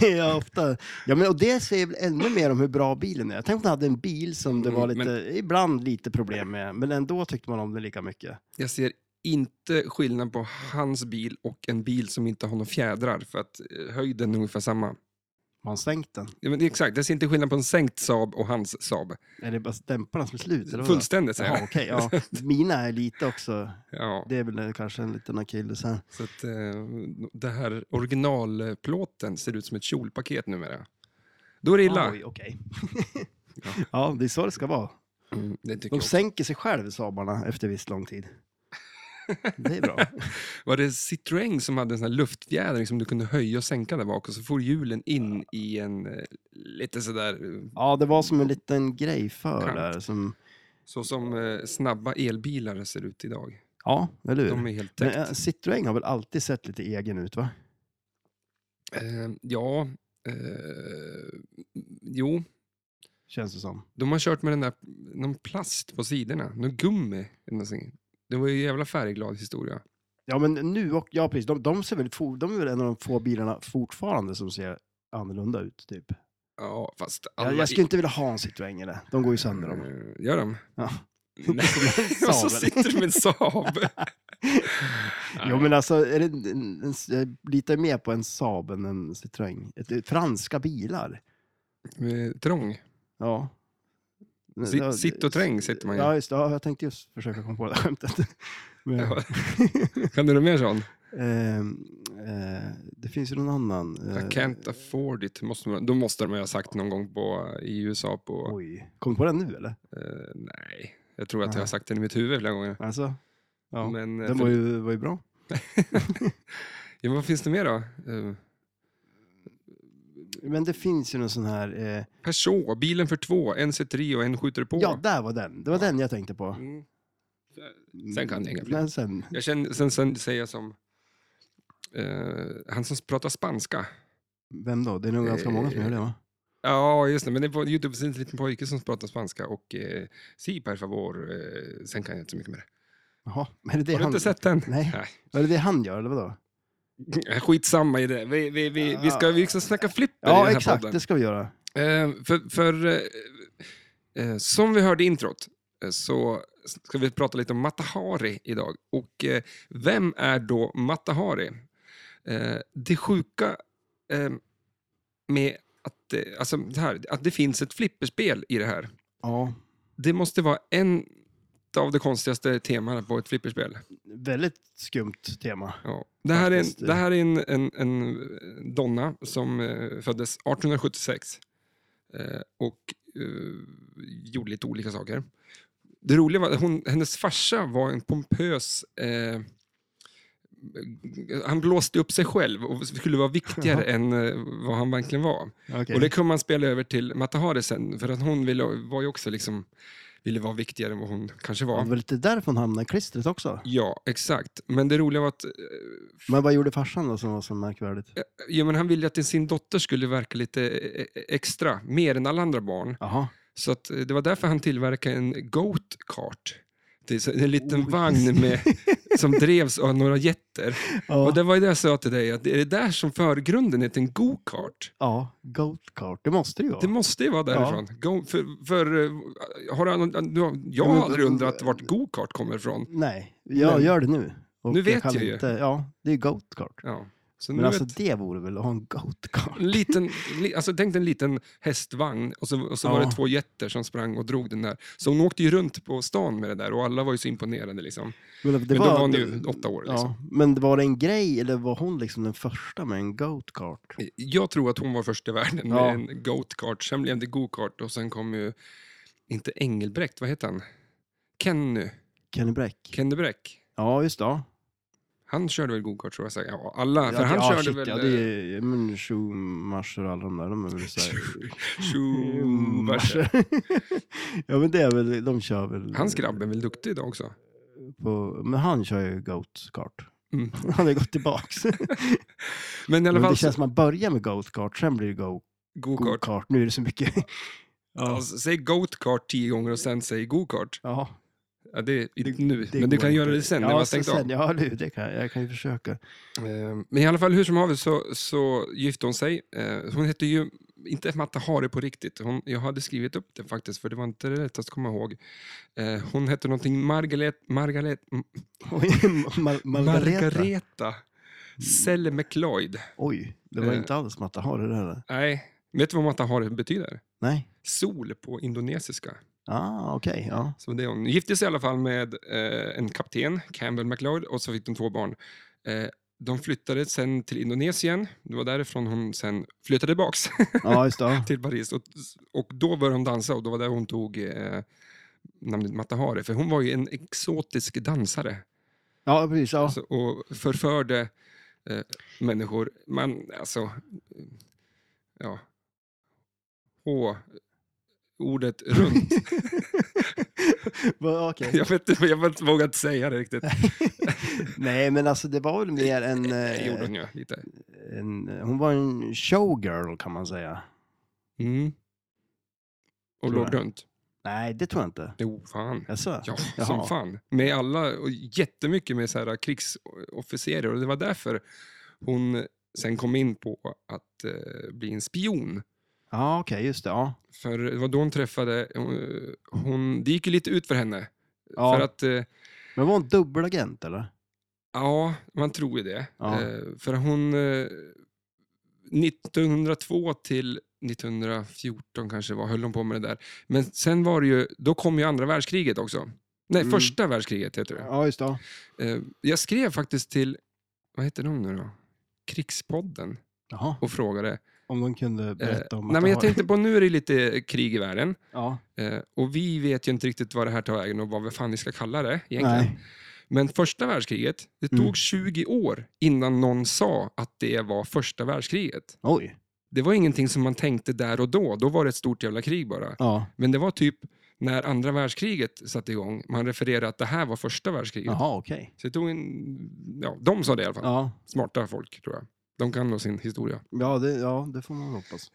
S3: det är ofta... Ja, men, och det säger väl ännu mer om hur bra bilen är. Jag tänkte att han hade en bil som det var
S2: Mm,
S3: lite, ibland lite problem med, men ändå tyckte man om den lika mycket.
S2: Jag ser inte skillnad på hans bil och en bil som inte har några fjädrar för att eh, höjden är ungefär samma.
S3: Har han sänkt den?
S2: Ja, men det är exakt, jag ser inte skillnad på en sänkt Saab och hans Saab.
S3: Är det bara dämparna som är slut? Eller vadå?
S2: Fullständigt säger
S3: Jaha,
S2: jag.
S3: okej. ja. Mina är lite också.
S2: Ja,
S3: Det är väl kanske en liten akilles här.
S2: så att, eh, det här originalplåten ser ut som ett kjolpaket numera. Då är det illa.
S3: Oj, okej.
S2: Ja.
S3: ja, det är så det ska vara.
S2: Mm, det tycker
S3: De
S2: jag.
S3: sänker sig själv, Saabarna, efter viss lång tid. Det är bra.
S2: Var det Citroën som hade en sån här luftfjädring som du kunde höja och sänka där bak och så for hjulen in i en eh, lite sådär, eh,
S3: Ja, det var som en liten grej för
S2: Kant.
S3: där som...
S2: så som eh, snabba elbilar ser ut idag.
S3: Ja, eller hur?
S2: De är helt
S3: Men
S2: täckt.
S3: eh, Citroën har väl alltid sett lite egen ut, va?
S2: Eh, ja, eh, jo,
S3: Känns det som.
S2: de har kört med den där, någon plast på sidorna, någon gummi. eller någonting. Det var ju en jävla färgglad historia.
S3: Ja, men nu och... Ja, precis. De, de, ser väl, fo- de är väl en av de få bilarna fortfarande som ser annorlunda ut, typ.
S2: Ja, fast alla...
S3: Jag, jag skulle inte vilja ha en Citroën eller. De går ju sönder dem.
S2: Eh, Gör de?
S3: Ja.
S2: Nej, och så
S3: Saab.
S2: sitter du med en Saab.
S3: Jo, men alltså, är det en, en, en, jag litar mer på en Saab än en Citroën. Ett, ett, franska bilar.
S2: Eh, Trång.
S3: Ja.
S2: Sit-
S3: Ja,
S2: sitt och träng sitter man ju.
S3: Ja, just det. Ja, jag tänkte just försöka komma på det där skämtet. Men,
S2: Ja. Kan du något mer sån?
S3: ehm, eh, det finns ju någon annan.
S2: I
S3: eh,
S2: can't afford it. Måste man, då måste de ju ha sagt någon gång på, i USA på...
S3: Oj. Kom du på den nu, eller?
S2: Eh, nej, jag tror att jag
S3: Nej.
S2: har sagt den i mitt huvud flera gånger.
S3: Alltså, ja.
S2: Men, eh,
S3: den
S2: för-
S3: var ju, var ju bra.
S2: ja, men vad finns det mer då? Eh,
S3: Men det finns ju någon sån här... Eh,
S2: Peugeot, bilen för två, en ser tre och en skjuter på.
S3: ja, där var den. Det var den jag tänkte på.
S2: Mm. Sen kan jag inga fler.
S3: Men sen,
S2: Jag känner, sen, sen säger jag som eh, han som pratar spanska.
S3: vem då? Det är nog ganska många som gör det,
S2: Eh,
S3: va?
S2: Ja, just det. Men det är på Youtube finns en liten pojke som pratar spanska och eh, si per favor, eh, sen kan jag inte så mycket mer.
S3: Jaha, men är det det
S2: Har du
S3: han...
S2: inte sett den?
S3: Nej. Var det det han gör, eller vadå?
S2: Skitsamma i det. Vi, vi, vi, vi, ska, vi ska snacka flipper i den
S3: Ja,
S2: här
S3: exakt.
S2: podden.
S3: Det ska vi göra.
S2: Eh, för för eh, eh, som vi hörde i introt eh, så ska vi prata lite om Matahari idag. Och eh, vem är då Matahari? Eh, det sjuka eh, med att, eh, alltså det här, att det finns ett flipperspel i det här.
S3: Ja,
S2: Det måste vara en av de konstigaste temana på ett flipperspel.
S3: väldigt skumt tema.
S2: Ja. Det här är, en,
S3: Faktiskt, eh.
S2: det här är en, en, en donna som eh, föddes 1876 eh, och eh, gjorde lite olika saker. Det roliga var att hon, hennes farsa var en pompös... Eh, han blåste upp sig själv och skulle vara viktigare än eh, vad han verkligen var.
S3: Okej.
S2: Och det kunde man spela över till Matahari sen, för att hon ville, var ju också liksom, ville vara viktigare än vad hon kanske
S3: Det
S2: var.
S3: var väl lite därför hon hamnade i klistret också.
S2: Ja, exakt. Men det roliga var att eh,
S3: Men vad gjorde farsan då som var så märkvärdigt?
S2: Ja, men han ville att sin dotter skulle verka lite eh, extra, mer än alla andra barn.
S3: Jaha.
S2: Så att eh, det var därför han tillverkade en goat cart. Det är så- en liten
S3: Oj.
S2: vagn med, som drevs av några jätter. Och
S3: Ja,
S2: det var ju det jag sa till dig, att det är det där som förgrunden är till en go-kart.
S3: ja goat cart. Det måste det ju vara.
S2: Det måste ju vara därifrån. Go, för, för, eh, har du, an- du har- jag har
S3: men-
S2: aldrig undrat vart go-kart kommer ifrån.
S3: Nej, jag
S2: Men-
S3: gör det nu. Och
S2: Nu vet
S3: kan
S2: jag ju.
S3: Inte... Ja, det är goat cart.
S2: Ja. Så
S3: Men
S2: nu
S3: alltså
S2: vet-
S3: det vore väl att ha en goat cart?
S2: en liten, li, alltså tänk dig en liten hästvagn och så, och så
S3: Ja.
S2: var det två jätter som sprang och drog den där. Så hon åkte ju runt på stan med det där och alla var ju så imponerade. Liksom.
S3: Men, det
S2: Men då var hon ju åtta år. Liksom.
S3: Ja, men var det en grej eller var hon liksom den första med en goat cart?
S2: Jag tror att hon var först i världen med
S3: Ja.
S2: en goat-kart, sen blev det go-kart och sen kom ju, inte Engelbrekt, vad heter han? Kenny,
S3: Kenny Bräck?
S2: Kenny Bräck.
S3: Ja, just det. ja. Han
S2: Han körde väl go-kart tror jag säkert. Ja, alla,
S3: Ja,
S2: för han
S3: ja,
S2: körde
S3: shit,
S2: väl... eh,
S3: Ja, det är men Schumacher och alla de där. De är väl så här... Mm.
S2: Schumacher.
S3: ja, men det är väl, de kör väl...
S2: Hans grabb är väl duktig idag också?
S3: På, men han kör ju Goat Kart.
S2: Mm.
S3: Han har ju gått tillbaks.
S2: Men i alla
S3: men
S2: fall,
S3: det känns som att man börjar med Goat Kart, sen blir det Go-
S2: go-kart.
S3: Go-Kart. Nu är det så mycket. Ja.
S2: Alltså, säg goat-kart tio gånger och sen säg go-kart.
S3: Ja,
S2: Ja, det är i- nu, men
S3: går
S2: du kan göra
S3: inte.
S2: det sen när
S3: ja,
S2: man har
S3: sen,
S2: stängt
S3: sen,
S2: av.
S3: ja, nu, det kan jag. Jag kan ju försöka.
S2: Eh, Men i alla fall, hur som haver så, så gifte hon sig. Eh, Hon hette ju inte Matta Hare på riktigt. Hon, jag hade skrivit upp det faktiskt, för det var inte det lättaste att komma ihåg. Eh, Hon hette någonting Margaret, Margaret, M-
S3: Oj, Mar- Margareta.
S2: Margareta Selle McLeod.
S3: Oj, det var
S2: Eh.
S3: inte alls Matta har det där.
S2: Nej, Vet du vad Matahari betyder?
S3: Nej.
S2: Sol på indonesiska.
S3: Ah, okej. ja.
S2: Så det är hon. Gifte sig i alla fall med eh, en kapten, Campbell MacLeod, och så fick de två barn. Eh, de flyttade sen till Indonesien. Det var därifrån hon sen flyttade tillbaks
S3: Ja, just det.
S2: till Paris. Och, och då började hon dansa och då var det hon tog eh, namnet Matahari. För hon var ju en exotisk dansare.
S3: Ja, precis. Ja.
S2: Alltså, och förförde eh, människor. Man, alltså, ja. H, ordet runt.
S3: Va, okej.
S2: jag vet inte, jag har inte vågat säga det riktigt.
S3: Nej, men alltså det var väl mer en...
S2: Det gjorde
S3: eh,
S2: hon ju lite.
S3: en hon var en showgirl kan man säga.
S2: Mm. Och
S3: Tror
S2: låg
S3: jag.
S2: runt.
S3: Nej, det tror jag inte.
S2: Jo, fan.
S3: Jaså?
S2: Ja,
S3: Jaha.
S2: som fan. Med alla, och jättemycket med så här krigsofficerer. Och det var därför hon sen kom in på att eh, bli en spion.
S3: Ja, okej, just det. Ja.
S2: För det var då hon träffade, hon, hon, det gick ju lite ut för henne.
S3: Ja.
S2: För att, eh,
S3: Men var hon dubbelagent eller?
S2: ja, man tror ju det.
S3: Ja.
S2: Eh, För hon, eh, 1902 till 1914 kanske var, höll hon på med det där. Men sen var det ju, då kom ju andra världskriget också. Nej,
S3: Mm.
S2: första världskriget heter det.
S3: Ja, just det.
S2: Eh, Jag skrev faktiskt till, vad heter de nu då? Krigspodden
S3: Jaha.
S2: och frågade.
S3: Om de kunde berätta om
S2: Nej, men
S3: att det
S2: jag
S3: var-
S2: tänkte på, nu är det lite krig i världen.
S3: Ja,
S2: Eh, och vi vet ju inte riktigt vad det här tar vägen och vad vi fan vi ska kalla det egentligen.
S3: nej.
S2: Men första världskriget, det tog
S3: Mm.
S2: 20 år innan någon sa att det var första världskriget.
S3: Oj.
S2: Det var ingenting som man tänkte där och då. Då var det ett stort jävla krig bara.
S3: Ja.
S2: Men det var typ när andra världskriget satte igång. Man refererade att det här var första världskriget.
S3: Jaha, okej.
S2: Så det tog en... Ja, de sa det i alla fall.
S3: Ja.
S2: Smarta folk, tror jag. De kan nog sin historia.
S3: Ja, det, ja, det får man hoppas.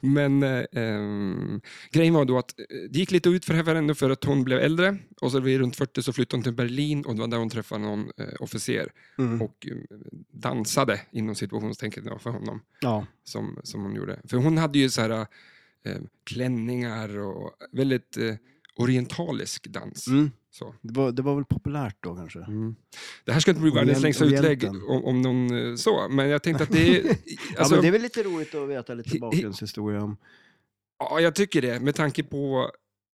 S2: Men eh, ehm, grejen var då att eh, det gick lite ut för henne ändå för att hon blev äldre och så vid runt 40 så flyttade hon till Berlin och det var där hon träffade någon eh, officer
S3: Mm.
S2: och eh, dansade inom situationstänket för honom
S3: Ja.
S2: som, som hon gjorde. För hon hade ju så här eh, klänningar och väldigt eh, orientalisk dans.
S3: Mm.
S2: Så.
S3: Det, var, det var väl populärt då kanske?
S2: Det här ska inte bli världens
S3: Orient-
S2: längsta utlägg
S3: Orienten.
S2: om, om någon eh, så, men jag tänkte att det är...
S3: ja,
S2: alltså-
S3: men det är väl lite roligt att veta
S2: Hi- hi-
S3: lite bakgrundshistoria om...
S2: Ja, jag tycker det. Med tanke på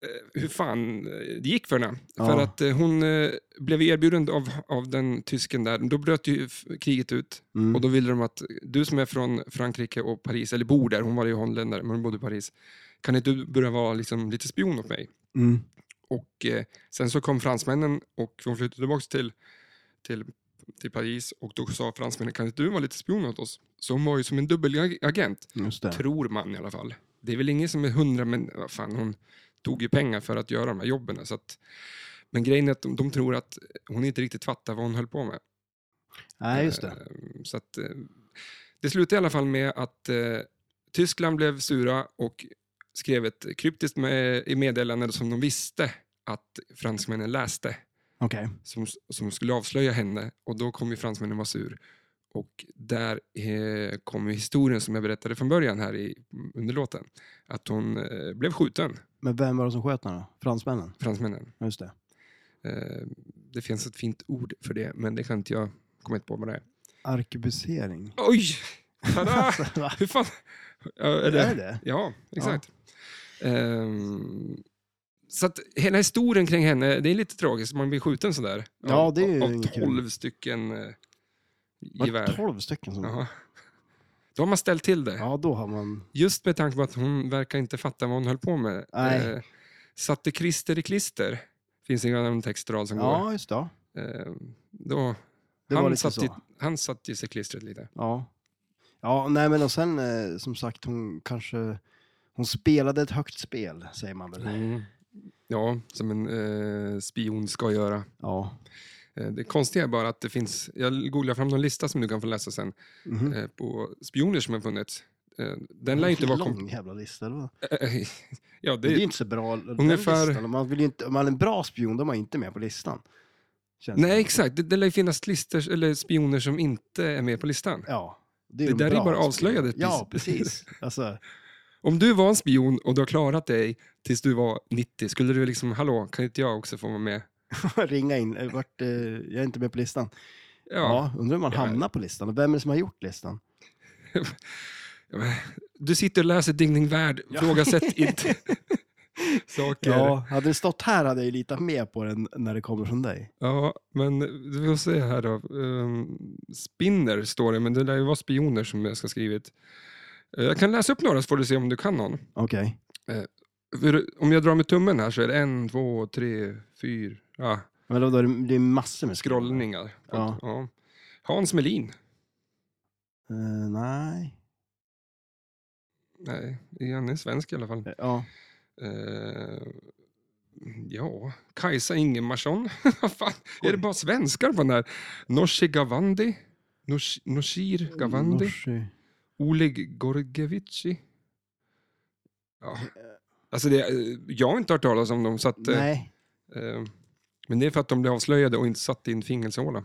S2: eh, hur fan eh, det gick för henne.
S3: Ja.
S2: För att eh, hon eh, blev erbjuden av, av den tysken där. Då bröt ju f- kriget ut.
S3: Mm.
S2: Och då ville de att du som är från Frankrike och Paris, eller bor där, hon var ju holländare, men hon bodde i Paris. Kan inte du börja vara liksom, lite spion åt mig?
S3: Mm.
S2: Och eh, sen så kom fransmännen och hon flyttade tillbaka till, till, till Paris och då sa fransmännen, kan inte du vara lite spion åt oss? Så hon var ju som en dubbelagent.
S3: Just det.
S2: Tror man i alla fall. Det är väl ingen som är hundra, men vad fan, hon tog ju pengar för att göra de här jobben. Så att, men grejen är att de, de tror att hon inte riktigt fattar vad hon höll på med.
S3: Nej, just det.
S2: Eh, Så att, eh, det slutade i alla fall med att eh, Tyskland blev sura och skrev ett kryptiskt med, i meddelande som de visste att fransmännen läste,
S3: Okej.
S2: som, som skulle avslöja henne. Och då kom ju fransmännen vara sur. Och där eh, kom ju historien som jag berättade från början här i, under låten. Att hon eh, blev skjuten,
S3: Men vem var det som sköt honom då? Fransmännen?
S2: fransmännen.
S3: Ja, Just det.
S2: Eh, det finns ett fint ord för det, men det kan inte jag komma inte på vad det är.
S3: Arkebusering. Alltså,
S2: Oj! Tada!
S3: Va?
S2: Hur fan? Ja,
S3: Är
S2: är det?
S3: det?
S2: ja exakt. Ehm, så att hela historien kring henne, det är lite tragiskt. Man blir skjuten sådär.
S3: Ja,
S2: av-
S3: det är ju
S2: Av
S3: inget kul.
S2: tolv stycken eh,
S3: Var det
S2: gevär.
S3: tolv stycken som...
S2: Jaha. Då har man ställt till det.
S3: Ja, då har man...
S2: Just med tanke på att hon verkar inte fatta vad hon höll på med.
S3: Nej.
S2: Eh, satte klister i klister. Finns det en textrad som
S3: Ja, just det.
S2: går. Eh, då,
S3: Det var
S2: han,
S3: lite
S2: satt
S3: så.
S2: i, han satt ju sig klistret lite.
S3: Ja. Ja, nej men och sen eh, som sagt hon kanske... Hon spelade ett högt spel, säger man väl.
S2: Mm. Ja, som en eh, spion ska göra.
S3: Ja.
S2: Eh, det konstiga är bara att det finns, jag googlar fram någon lista som du kan få läsa sen,
S3: Mhm.
S2: eh, på spioner som har funnits. Eh, den lär ju inte vara... Kom-
S3: Lång jävla lista. Eller? vad?
S2: ja, det
S3: Det är ju
S2: är,
S3: inte så bra. den
S2: Ungefär-
S3: listan. Om Man vill ju inte, om man är en bra spion, då är man inte med på listan. Känns
S2: nej,
S3: det.
S2: exakt. Det, det lär ju finnas lister, eller spioner som inte är med på listan.
S3: Ja.
S2: Det
S3: de
S2: där är
S3: bra
S2: bara
S3: spionerna.
S2: avslöjade.
S3: Ja, precis. Alltså,
S2: Om du var en spion och du har klarat dig tills du var 90, skulle du liksom, hallå, kan inte jag också få vara med?
S3: ringa in. eh, Vart, eh, jag är inte med på listan.
S2: Ja.
S3: Ja. undrar hur man
S2: Ja.
S3: hamnar på listan. Och vem är det som har gjort listan?
S2: Ja, men, Du sitter och läser Ding Ding Värld,
S3: Ja.
S2: frågasätt inte saker. Ja.
S3: Ja, hade det stått här hade jag ju litat mer på den när det kommer från dig.
S2: men vi får se här då. Ehm, Spinner står det, men det lär ju vara spioner som jag ska ha skrivit. Eh, Jag kan läsa upp några så får du se om du kan någon.
S3: Okej.
S2: För Om jag drar med tummen här så är det en, två, tre, fyra ja,
S3: Men då, då är det, det är massor med
S2: scrollningar.
S3: Ja.
S2: Ja. Hans Melin.
S3: Eh, nej.
S2: Nej, han är svensk i alla fall.
S3: Eh, Ja.
S2: Eh, ja, Kajsa Ingemarsson. Vad fan, är det
S3: Oj.
S2: bara svenskar på den här? Nooshi Gavandi, Noosh- Nooshir Gavandi,
S3: Eh, Norsi.
S2: Oleg Gorgevici.
S3: Eh.
S2: Ja, alltså det, eh, jag har inte hört talas om dem, så att, eh,
S3: Nej.
S2: eh, men det är för att de blev avslöjade och inte satt i en fängelsehåla.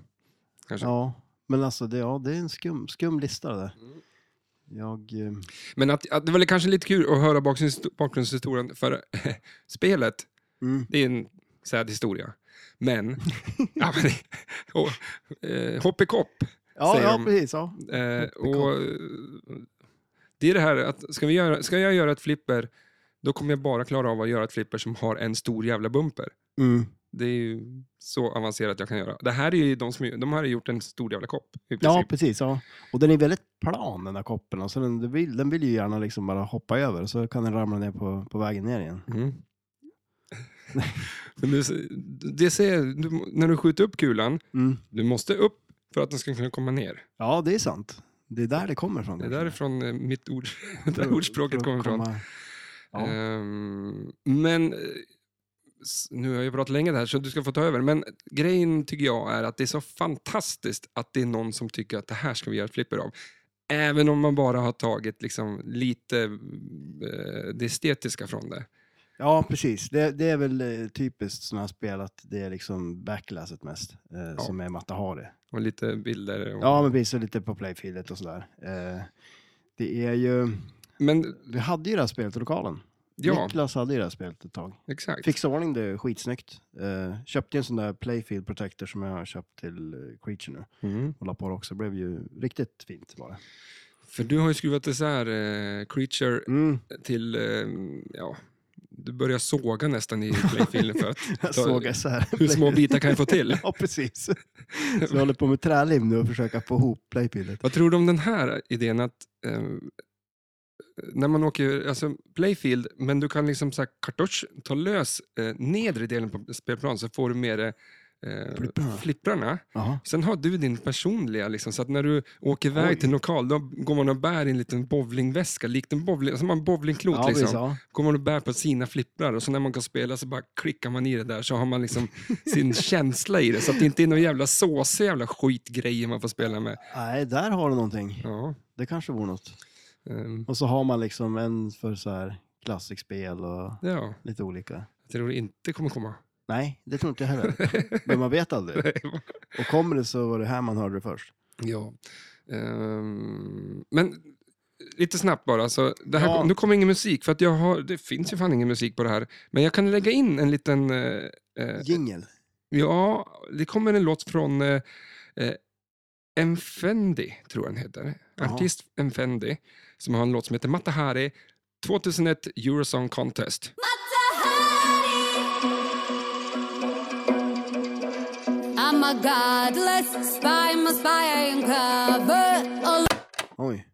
S2: kanske.
S3: Ja. Men alltså, det, ja, det är en skum, skum lista det där.
S2: Mm.
S3: Jag... eh,
S2: Men att, att det var kanske lite kul att höra bakgrunds- bakgrundshistorien för spelet
S3: Mm.
S2: Det är en sad historia. Men, ja, men det- och, eh, hopp i kopp.
S3: Ja,
S2: Säger
S3: ja
S2: de.
S3: precis. Ja.
S2: Eh,
S3: Hopp i kopp.
S2: och, eh, det är det här att ska, vi göra, ska jag göra ett flipper, då kommer jag bara klara av att göra ett flipper som har en stor jävla bumper.
S3: Mm.
S2: Det är ju så avancerat jag kan göra. Det här är ju de som de här har gjort en stor jävla kopp. I
S3: Ja,
S2: princip.
S3: precis. Ja. Och den är väldigt plan den där koppen. Alltså, den, den, vill, den vill ju gärna liksom bara hoppa över så kan den ramla ner på, på vägen ner igen.
S2: Mm. Men du, det ser, du, när du skjuter upp kulan,
S3: Mm.
S2: du måste upp för att den ska kunna komma ner.
S3: Ja, det är sant. Det är där det kommer från.
S2: Det är
S3: kanske.
S2: därifrån eh, mitt ord,
S3: För-
S2: där
S3: för
S2: ordspråket
S3: att
S2: kommer ifrån.
S3: komma- Ja.
S2: Ehm, men eh, s- nu har jag pratat länge där så du ska få ta över. Men grejen tycker jag är att det är så fantastiskt att det är någon som tycker att det här ska vi göra ett flipper av. Även om man bara har tagit liksom lite eh, det estetiska från det.
S3: Ja, precis. Det, det är väl eh, typiskt sådana här spel att det är liksom backlasset mest eh, som är Matahari.
S2: Och lite bilder. Och...
S3: Ja, men precis. Och lite på playfieldet och sådär. Eh, det är ju...
S2: Men
S3: Vi hade ju det här spelet i lokalen.
S2: ja,
S3: Niklas hade ju det här spelet ett tag.
S2: exakt.
S3: Fixa ordning det skitsnyggt. Eh, köpte ju en sån där playfield protector som jag har köpt till eh, Creature nu.
S2: Mm.
S3: Och la på det också. Det blev ju riktigt fint bara.
S2: För du har ju skruvat isär eh, Creature
S3: Mm.
S2: till, eh, ja, du börjar såga nästan i playfilen för att
S3: Jag
S2: Så-
S3: såg så här.
S2: hur små bitar kan jag få till?
S3: Ja, precis. Så jag håller på med trälim nu och försöker få ihop playfieldet.
S2: Vad tror du om den här idén att eh, när man åker alltså playfield, men du kan liksom så här, kartosch, ta lös eh, nedre delen på spelplanen så får du med det eh,
S3: Flipprarna.
S2: flipprarna.
S3: Jaha.
S2: Sen har du din personliga, liksom, så att när du åker iväg
S3: Oj.
S2: till en lokal, då går man och bär i en liten bowlingväska, likt en bowling, alltså man har en bowlingklot.
S3: Ja, precis.
S2: liksom.
S3: Ja.
S2: Går man och bär på sina flipprar och så när man kan spela så bara klickar man i det där så har man liksom sin känsla i det. Så att det inte är någon jävla såsiga jävla skitgrejer man får spela med.
S3: Nej, där har du någonting.
S2: Ja,
S3: Det kanske vore något.
S2: ehm,
S3: Och så har man liksom en för så här klassikspel och
S2: ja.
S3: lite olika.
S2: Jag tror det inte kommer komma.
S3: Nej, det tror inte jag heller. Men man vet aldrig. Och kommer det så var det här man hörde det först.
S2: ja. Ehm, men lite snabbt bara. Så det här,
S3: Ja.
S2: Nu kommer ingen musik, för att jag har, det finns ju fan ingen musik på det här. Men jag kan lägga in en liten... eh, eh,
S3: Jingel.
S2: ja, det kommer en låt från eh, eh, Enfendi, tror jag den heter.
S3: Jaha.
S2: Artist Enfendi, som har en låt som heter Matahari 2001 Eurosong Contest.
S4: I'm a godless spy, my spy I uncover. all
S3: Oj.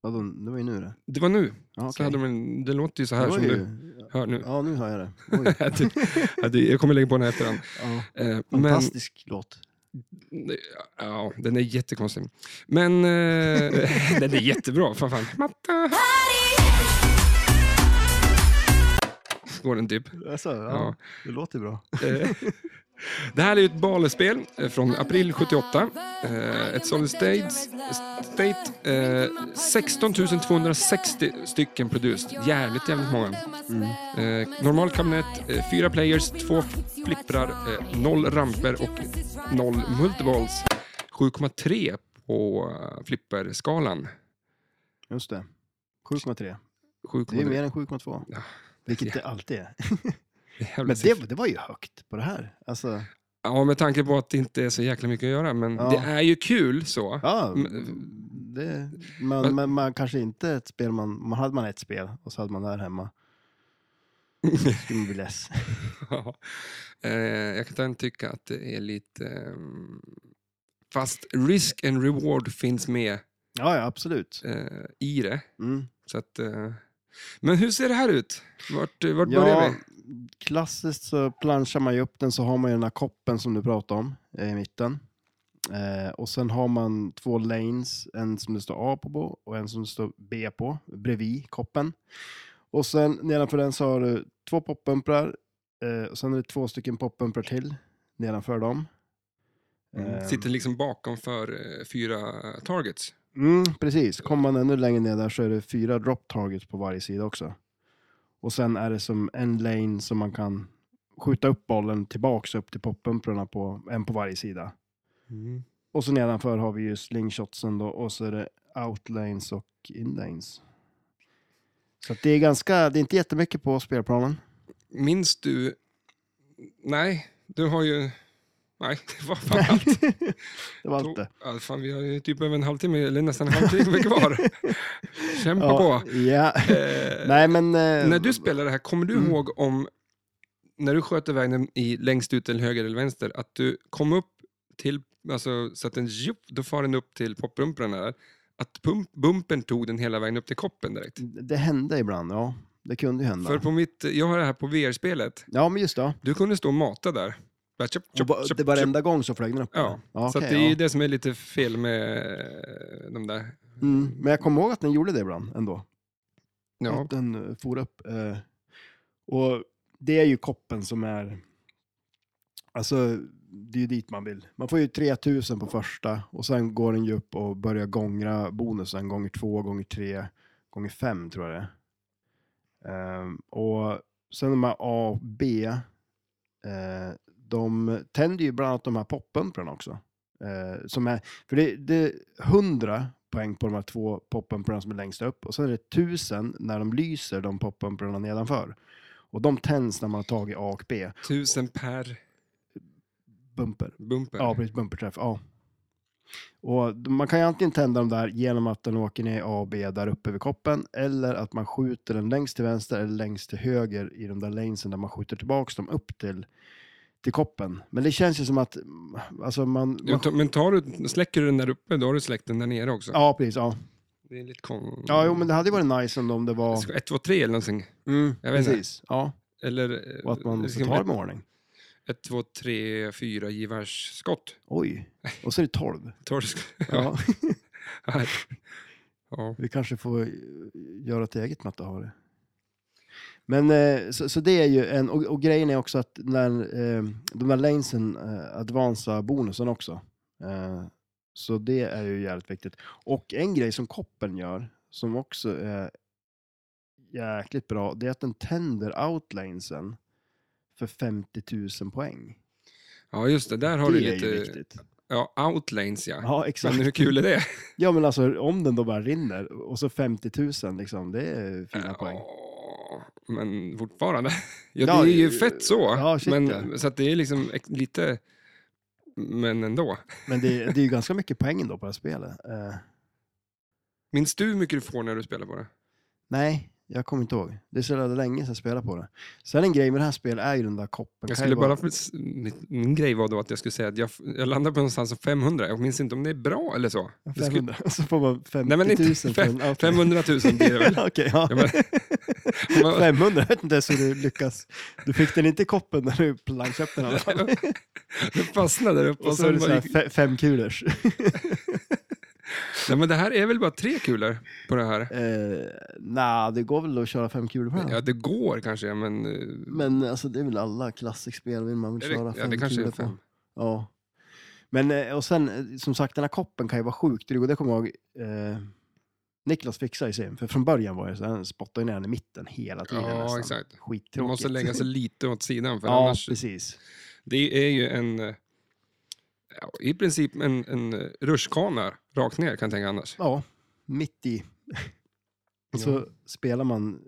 S3: Vadå, det var ju nu det.
S2: Det var nu.
S3: Ja,
S2: Så
S3: okej.
S2: hade de en, det låter ju så
S3: Det
S2: här
S3: var
S2: som
S3: ju-
S2: du hör nu.
S3: Ja, nu hör jag det. Oj.
S2: Att du- att du- jag kommer lägga på den här efterhand.
S3: Ja,
S2: Eh, Men,
S3: fantastisk låt.
S2: ja, den är jättekonstig. Men eh, den är jättebra. Fan, fan. Matta. Går den typ.
S3: Alltså, ja,
S2: Ja.
S3: det låter bra.
S2: Eh, Det här är ju ett balespel eh, från april 78. Eh, Ett Solid States, State. Eh, 16 260 stycken produced. Jävligt, jävligt många. Eh, normal kabinett, eh, fyra players, två flipprar, eh, noll ramper och noll multiballs. 7,3 på eh, flipperskalan.
S3: Just det. 7,3. Det är ju
S2: 7,3.
S3: mer än 7,2.
S2: Ja.
S3: Vilket det alltid är.
S2: Jävla
S3: Men
S2: siffra.
S3: det, det var ju högt på det här. Alltså,
S2: Ja, med tanke på att det inte är så jäkla mycket att göra. Men
S3: Ja.
S2: det är ju kul så.
S3: ja,
S2: Men-
S3: Det, man,
S2: Men-
S3: men man kanske inte ett spel, man, man hade man ett spel och så hade man det här hemma. Då skulle man bli less.
S2: Ja. Eh, jag kan även tycka att det är lite... ehm, fast risk and reward finns med
S3: Ja, ja, absolut.
S2: eh, i det.
S3: Mm.
S2: Så att, eh, men hur ser det här ut? Vart, eh, vart börjar
S3: Ja,
S2: vi?
S3: klassiskt så planschar man ju upp den så har man ju den här koppen som du pratade om eh, i mitten. Eh, och sen har man två lanes, en som det står A på och en som det står B på, bredvid koppen. Och sen nedanför den så har du två poppumprar eh, och sen är det två stycken poppumprar till nedanför dem. Ehm,
S2: Sitter liksom bakom för eh, fyra targets.
S3: Mm, precis. Kommer man ännu längre ner där så är det fyra drop targets på varje sida också. Och sen är det som en lane som man kan skjuta upp bollen tillbaks upp till poppumprarna på en på varje sida. Och så nedanför har vi ju slingshotsen då och så är det outlanes och inlanes. Så att det är ganska, det är inte jättemycket på spelplanen.
S2: Minns du... Nej, du har ju... Nej, det var fan allt.
S3: det var allt det.
S2: Ja, fan, vi har ju typ över en halvtimme, eller nästan en halvtimme kvar. Kämpa på.
S3: ja.
S2: Eh,
S3: Nej men...
S2: När du spelade det här, kommer du
S3: Mm.
S2: ihåg om, när du sköt iväg den i längst ut till höger eller vänster, att du kom upp till, alltså så att den, jup, då far den upp till poppumprarna där, att pump, bumpen tog den hela vägen upp till koppen direkt?
S3: Det hände ibland, ja. Det kunde ju hända.
S2: För på mitt, jag har det här på VR-spelet,
S3: Ja men just det. ja.
S2: du kunde stå och mata där. Bara tjup,
S3: Och
S2: tjup,
S3: ba-
S2: tjup,
S3: det
S2: tjup.
S3: varenda gång så flög den upp?
S2: Ja,
S3: ja
S2: så att
S3: okej,
S2: det är ju
S3: ja.
S2: det som är lite fel med eh, de där.
S3: Mm, men jag kommer ihåg att den gjorde det ibland ändå.
S2: Ja,
S3: Att den eh, for upp. eh, och det är ju koppen som är... Alltså, det är ju dit man vill. Man får ju 3000 på första och sen går den ju upp och börjar gångra bonusen gånger två, gånger tre, gånger fem tror jag det är. Ehm, och sen de här A och B, eh, de tänder ju bland annat de här poppumprarna också. Eh, som är, för det, det är 100 poäng på de här två poppumprarna som är längst upp och sen är det 1000 när de lyser de poppumprarna nedanför. Och de tänds när man har tagit A och B.
S2: tusen per
S3: Bumper.
S2: bumper.
S3: Ja, precis. Bumperträff. Ja. Och d- man kan ju antingen tända dem där genom att den åker ner i A och B där uppe vid koppen eller att man skjuter den längst till vänster eller längst till höger i de där lanesen där man skjuter tillbaka dem upp till, till koppen. Men det känns ju som att mm, alltså man...
S2: Jo,
S3: man
S2: ta- Men tar du, släcker du den där uppe, då har du släckt den där nere också.
S3: ja, precis. Ja.
S2: Det är lite kon...
S3: ja, jo, men det hade ju varit nice ändå om det var...
S2: 1, 2, 3 eller någonting.
S3: Mm,
S2: jag vet inte.
S3: precis. Ja,
S2: Eller... eh,
S3: och att man
S2: det
S3: så
S2: ska
S3: tar det
S2: bli
S3: med ordning.
S2: ett, två, tre, fyra gevärsskott.
S3: Oj, och så är det 12.
S2: Tar du sk-
S3: Ja.
S2: Ja. ja.
S3: Vi kanske får eh, göra ett eget Matahari. Men eh, så, så det är ju en, och, och grejen är också att när eh, de där lanesen eh, advansar bonusen också. Eh, så det är ju jävligt viktigt. Och en grej som koppen gör, som också är jäkligt bra, det är att den tänder outlanesen för 50 000 poäng.
S2: ja, just det. Där har
S3: det
S2: du
S3: är ju
S2: lite...
S3: viktigt.
S2: Ja, outlanes ja.
S3: Ja,
S2: Men
S3: exakt.
S2: hur kul är det?
S3: Ja, men alltså om den då bara rinner och så 50 000 liksom, det är fina poäng.
S2: Eh, Ja, men fortfarande. Ja,
S3: Ja,
S2: det är ju
S3: eh,
S2: fett så.
S3: ja, shit,
S2: men,
S3: ja.
S2: Så att det är liksom ex- lite... Men ändå.
S3: Men det, det är ju ganska mycket poäng ändå på det här spelet. Eh,
S2: Minns du hur mycket du får när du spelar på det?
S3: nej, jag kommer inte ihåg. Det är så jävla länge sedan jag spelade på det. Sen en grej med det här spelet är ju den där koppen.
S2: Jag
S3: Kan
S2: skulle
S3: ju
S2: bara, min, min grej var då att jag skulle säga att jag, jag landade på någonstans som 500. Jag minns inte om det är bra eller så.
S3: vara
S2: Det skulle,
S3: 500, så får man 50
S2: Nej, men inte
S3: 000
S2: fem-
S3: för en outlet.
S2: 500 000 blir det väl.
S3: Okej, ja.
S2: Ja, men- men-
S3: 500, jag vet inte ens hur du lyckas. Du fick den inte i koppen när du planschade upp den i alla fall.
S2: Den fastnade där uppe.
S3: Och så är det så här,
S2: gick-
S3: fe- fem kulers.
S2: nej, men det här är väl bara tre kulor på det här?
S3: Eh, Nej, det går väl att köra fem kulor på den?
S2: Ja, det går kanske, men... eh,
S3: Men alltså, det är väl alla klassikspel vill man
S2: är
S3: väl
S2: det,
S3: köra
S2: ja, det
S3: fem
S2: kanske
S3: kulor
S2: är
S3: på.
S2: fem.
S3: Ja. Men eh, och sen, eh, som sagt, den här koppen kan ju vara sjukt dryg. Och det kommer jag ihåg. Eh, Niklas fixade ju sen, för från början var det så här, han spottade ner den i mitten hela tiden
S2: Ja,
S3: nästan.
S2: exakt. Man
S3: Skittråkigt.
S2: måste lägga sig lite åt sidan, för
S3: Ja,
S2: annars...
S3: precis.
S2: Det är ju en... eh, Ja, I princip en, en eh, rutschkana rakt ner, kan jag tänka annars.
S3: Ja, mitt i. Och så
S2: Ja.
S3: spelar man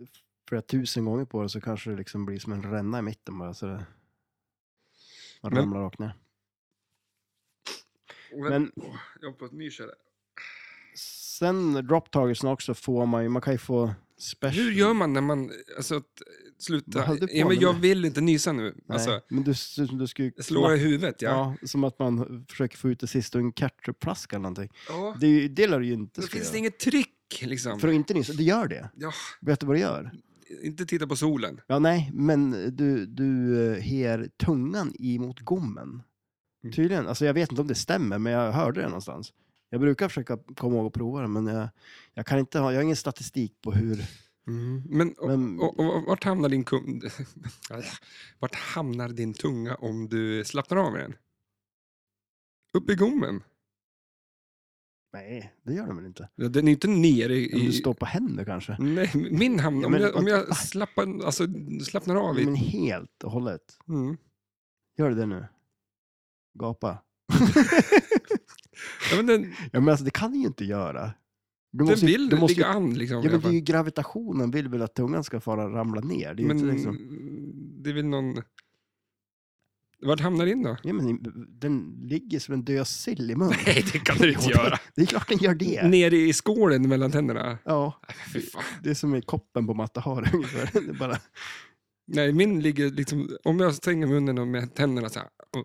S3: flera tusen gånger på det så kanske det liksom blir som en ränna i mitten bara. Så det, man
S2: Men-
S3: ramlar rakt ner.
S2: Men,
S3: Men
S2: jag hoppas ni kör det.
S3: sen drop targetsen också får man ju, man kan ju få special.
S2: Hur gör man när man... Alltså, att,
S3: Vad
S2: sluta.
S3: höll du på
S2: Ja, men
S3: med?
S2: jag vill inte nysa nu.
S3: Nej,
S2: Alltså,
S3: men du, du, du ska ju...
S2: slå i huvudet, ja.
S3: Ja, som att man försöker få ut det sista ur en ketchupflaska eller någonting.
S2: ja.
S3: Det, är ju- det lär du ju inte
S2: Då
S3: ska
S2: finns det
S3: göra.
S2: inget tryck, liksom.
S3: För att inte nyssa, det gör det.
S2: Ja,
S3: Vet du vad det gör?
S2: inte titta på solen.
S3: Ja, nej, men du, du eh, her tungan emot gommen.
S2: Mm.
S3: Tydligen, alltså jag vet inte om det stämmer, men jag hörde det någonstans. Jag brukar försöka komma ihåg att prova det, men jag, jag kan inte ha, jag har ingen statistik på hur...
S2: Men, och,
S3: Mm. Men-
S2: och, och, vart hamnar din kund... vart hamnar din tunga om du slappnar av med den? Upp i gommen.
S3: Nej, det gör de väl inte?
S2: Ja, Den är inte ner i...
S3: Om du
S2: i...
S3: står på händer kanske?
S2: Nej, min hamn.
S3: Ja,
S2: om
S3: men
S2: jag, om
S3: vad-
S2: jag slappar, alltså, slappnar av
S3: Men
S2: i...
S3: helt och hållet.
S2: Mm.
S3: Gör det nu. Gapa.
S2: Ja, men den
S3: Ja, men alltså det kan du ju inte göra. Du
S2: den
S3: ju-
S2: vill
S3: du måste ju,
S2: ligga an. Liksom,
S3: Ja,
S2: i
S3: men
S2: alla
S3: det är
S2: fall.
S3: ju gravitationen vill väl att tungan ska fara ramla ner. Det är ju
S2: men
S3: inte liksom...
S2: det är väl någon... Vart hamnar din då?
S3: Ja, men den ligger som en död sill i munnen.
S2: Nej, det kan du inte
S3: Jo,
S2: göra.
S3: Det är klart den gör det.
S2: Nere i skålen mellan tänderna?
S3: Ja,
S2: Nej, fy fan.
S3: det är som i koppen på matta har ungefär. Det är bara,
S2: Nej, min ligger liksom... Om jag stänger munnen och med tänderna så här, och,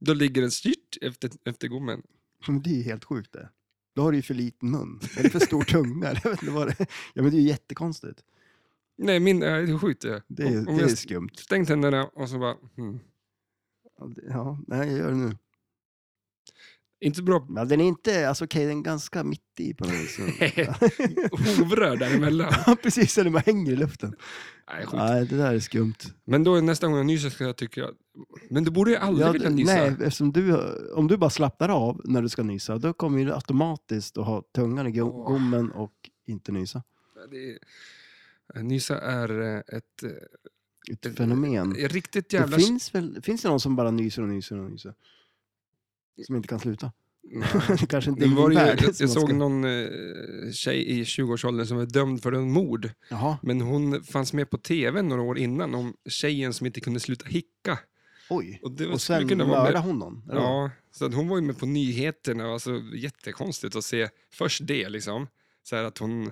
S2: då ligger den styrt efter, efter gommen.
S3: men det är ju helt sjukt det. Då har du ju för liten mun. Eller för stor tunga. Jag vet inte vad det är. Ja, men det är ju jättekonstigt.
S2: Nej, min är det skjuter jag.
S3: Det är,
S2: Om- om
S3: det är
S2: jag
S3: skumt.
S2: stänger tänderna och så bara... Hmm.
S3: Ja, det- Ja, nej, jag gör det nu.
S2: Inte bra
S3: Men den är inte, alltså okej, den är ganska mitt i på något vis.
S2: hovrar däremellan.
S3: Ja, precis. Eller man hänger i luften.
S2: Nej, skit.
S3: Nej, det där är skumt.
S2: Men då nästa gång jag nyser ska jag tycka... att- Men du borde ju aldrig
S3: Ja,
S2: vilja
S3: d-
S2: nysa.
S3: nej, eftersom du, om du bara slappnar av när du ska nysa, då kommer du automatiskt att ha tungan i go-
S2: Åh.
S3: gommen och inte nysa.
S2: Det är, nysa är eh, ett, Det-
S3: Ett fenomen.
S2: eh, riktigt
S3: Det
S2: jävla...
S3: finns, väl, finns det någon som bara nyser och nyser och nyser? Som inte kan sluta?
S2: Nej.
S3: det kanske inte
S2: Det
S3: är
S2: var
S3: din
S2: ju,
S3: värld.
S2: jag,
S3: som
S2: jag
S3: man
S2: såg
S3: ska-
S2: någon eh, tjej i 20-årsåldern som var dömd för en mord.
S3: Jaha,
S2: Men hon fanns med på tv några år innan om tjejen som inte kunde sluta hicka.
S3: oj.
S2: Och, det
S3: Och
S2: skulle
S3: sen
S2: kunna vara
S3: mördade
S2: med-
S3: hon någon? eller?
S2: Ja, så att hon var ju med på nyheterna. Alltså, jättekonstigt att se först det, liksom. Så här att hon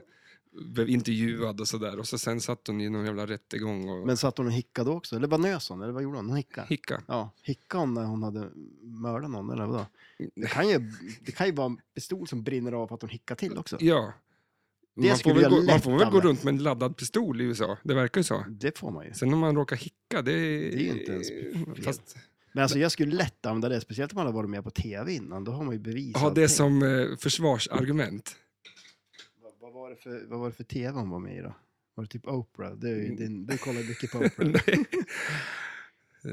S2: blev intervjuad och sådär. Och så sen satt hon i någon jävla rättegång och
S3: Men satt hon och hickade också? Eller bara nös hon? Eller vad gjorde hon? Hon hickade?
S2: hickade.
S3: Ja, hickade hon när hon hade mördat någon? Eller vadå?
S2: Mm.
S3: Det kan ju, det kan ju vara en pistol som brinner av för att hon hickar till också.
S2: Ja.
S3: Det
S2: Man får,
S3: skulle
S2: väl
S3: jag
S2: gå, man
S3: lätt
S2: får väl gå
S3: använda.
S2: runt med en laddad pistol i USA. Det verkar ju så.
S3: Det får man ju.
S2: Sen om man råkar hicka, det är...
S3: Det är ju inte ens
S2: Fast,
S3: Men alltså jag skulle lätt använda det, speciellt om man har varit med på tv innan. Då har man ju bevis. och
S2: ha det
S3: allting.
S2: som eh, försvarsargument.
S3: Vad, vad, var det för, vad var det för tv hon var med i då? Var det typ Oprah? Du,
S2: Mm.
S3: din, du kollar mycket på Oprah.
S2: Nej. Eh,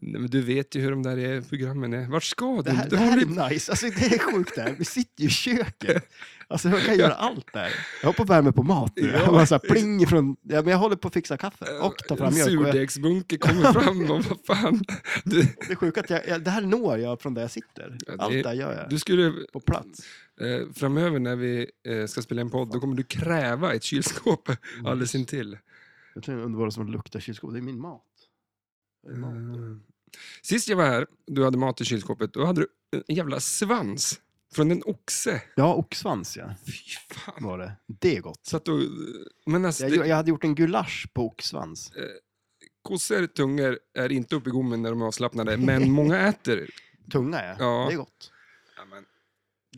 S2: nej, men du vet ju hur de där eh, programmen är. Vart ska du?
S3: Det här,
S2: du
S3: det här
S2: håller-
S3: är nice, alltså det är sjukt det här. Vi sitter ju i köket. Alltså jag kan göra allt där. Jag hoppar värme på mat nu.
S2: Ja.
S3: Jag bara så här, pling ifrån, ja, men jag håller på att fixa kaffe och ta fram
S2: en
S3: mjölk. Och jag,
S2: surdegsbunke kommer fram och vad fan. Du,
S3: det är sjukt att jag, jag, det här når jag från där jag sitter.
S2: Ja, det-
S3: Allt det här gör jag.
S2: du skulle,
S3: På plats.
S2: eh, framöver när vi eh, ska spela en podd, då kommer du kräva ett kylskåp alldeles intill.
S3: Jag tror jag undrar vad det som luktar kylskåp. Det är min mat. Det är mat.
S2: Mm. Sist jag var här, du hade mat i kylskåpet, då hade du en jävla svans från en oxe.
S3: Ja, oxsvans ja.
S2: Fy fan.
S3: Var det. det är gott.
S2: Så att du, men alltså,
S3: Jag,
S2: det,
S3: gjo- jag hade gjort en gulasch på oxsvans.
S2: kossor, tungor är inte uppe i gommen när de är avslappnade, men många äter.
S3: Tunga ja.
S2: Ja.
S3: Det är gott.
S2: Ja, men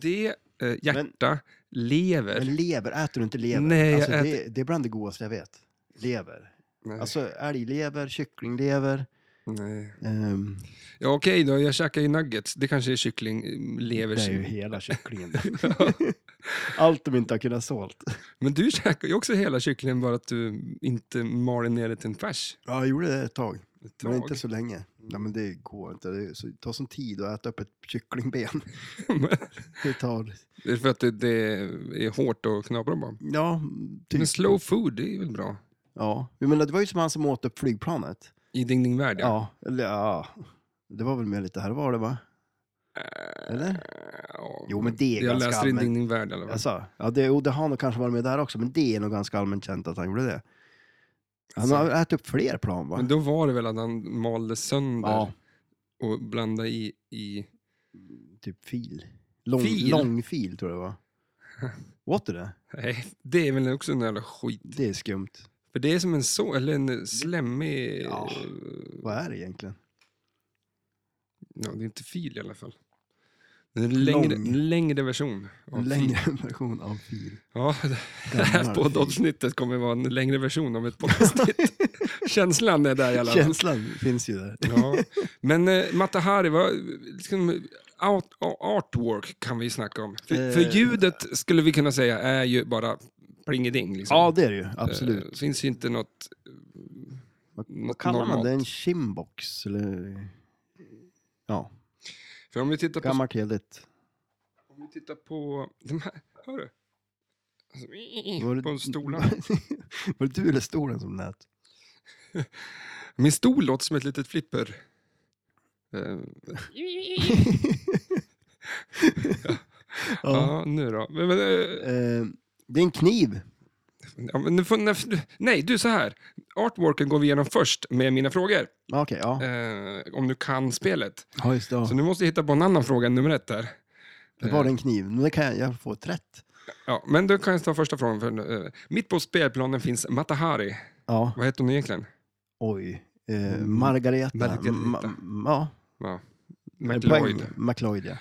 S2: Det, eh, hjärta, lever.
S3: Men lever, äter du inte lever?
S2: Nej, jag
S3: alltså, det, det är bland det godaste jag vet. Lever.
S2: Nej.
S3: Alltså älglever, kycklinglever.
S2: Nej.
S3: ehm,
S2: Ja, okej då, jag käkar ju nuggets. Det kanske är kyckling, eh, lever.
S3: det är ju
S2: kyckling.
S3: hela kycklingen. Allt de inte har kunnat sålt.
S2: Men du käkar ju också hela kycklingen, bara att du inte maler ner det till en färs.
S3: Ja, jag gjorde det ett tag.
S2: Ett
S3: Men
S2: tag.
S3: inte så länge. Nej, men det går inte. Det är så, det tar sån tid att äta upp ett kycklingben. Det tar...
S2: det är för att det, det är hårt att knapra på.
S3: Ja,
S2: Men
S3: typ.
S2: slow food, det är väl bra?
S3: Ja. Jag menar, det var ju som han som åt upp flygplanet.
S2: I Ding Ding Värld, ja.
S3: Ja, eller ja. Det var väl med lite här var det va?
S2: Eh,
S3: Eller?
S2: ja.
S3: Jo, men det är
S2: jag
S3: ganska
S2: läser i Ding
S3: allmänt.
S2: Ding Värld i alla fall.
S3: Alltså, ja, det, och det har nog kanske varit med där också, men det är nog ganska allmänt känt att han gjorde det. Han
S2: Alltså.
S3: har ätit upp fler plan va?
S2: Men då var det väl att han malde sönder
S3: ja,
S2: och blandade i... i...
S3: typ fil. Lång
S2: Fil?
S3: fil, lång fil tror jag va? Åt du det?
S2: Nej, det är väl också en jävla skit.
S3: Det är skumt.
S2: För det är som en så, eller en slemmig...
S3: Ja.
S2: Ja.
S3: Vad är det egentligen?
S2: det är inte fil i alla fall. Det är En längre,
S3: Lång.
S2: en längre version. av
S3: En
S2: fil.
S3: längre version av fil.
S2: Ja, det här
S3: Gammal
S2: poddavsnittet kommer vara en längre version av ett poddavsnitt. Känslan är där i alla fall.
S3: Känslan finns ju där.
S2: Ja. Men eh, Matahari, vad, liksom, out, artwork kan vi snacka om. För,
S3: Eh.
S2: för ljudet skulle vi kunna säga är ju bara plingeding. Liksom.
S3: Ja, det är det ju.
S2: Eh,
S3: Absolut.
S2: finns ju inte något...
S3: Vad, vad
S2: något
S3: kallar man
S2: normalt.
S3: det? En shimbox? Eller... Ja,
S2: För om vi tittar på,
S3: gammalt heligt.
S2: om vi tittar på de här, hör du? Alltså,
S3: Var det-
S2: på stolarna.
S3: Var det du eller stolen som lät?
S2: Min stol låter som ett litet flipper. Eh,
S3: ja.
S2: Ja, nu då. Men, men, eh,
S3: Eh, det är en kniv.
S2: Ja, men nu får, när, nej, du så här. Artworken går vi igenom först med mina frågor.
S3: Ja, Okej, ja.
S2: Eh, om du kan spelet.
S3: ja just det. Ja.
S2: Så nu måste jag hitta på en annan fråga än nummer ett där.
S3: Det var en kniv. Men det kan jag, jag få ett rätt.
S2: Ja, men då kan jag ta första frågan. För, eh, mitt på spelplanen finns Matahari.
S3: Ja,
S2: Vad heter hon egentligen?
S3: oj. Eh, Margareta.
S2: Mm. Margareta.
S3: Ma- ja,
S2: Ja.
S3: poäng.
S2: McLeod.
S3: McLeod, ja.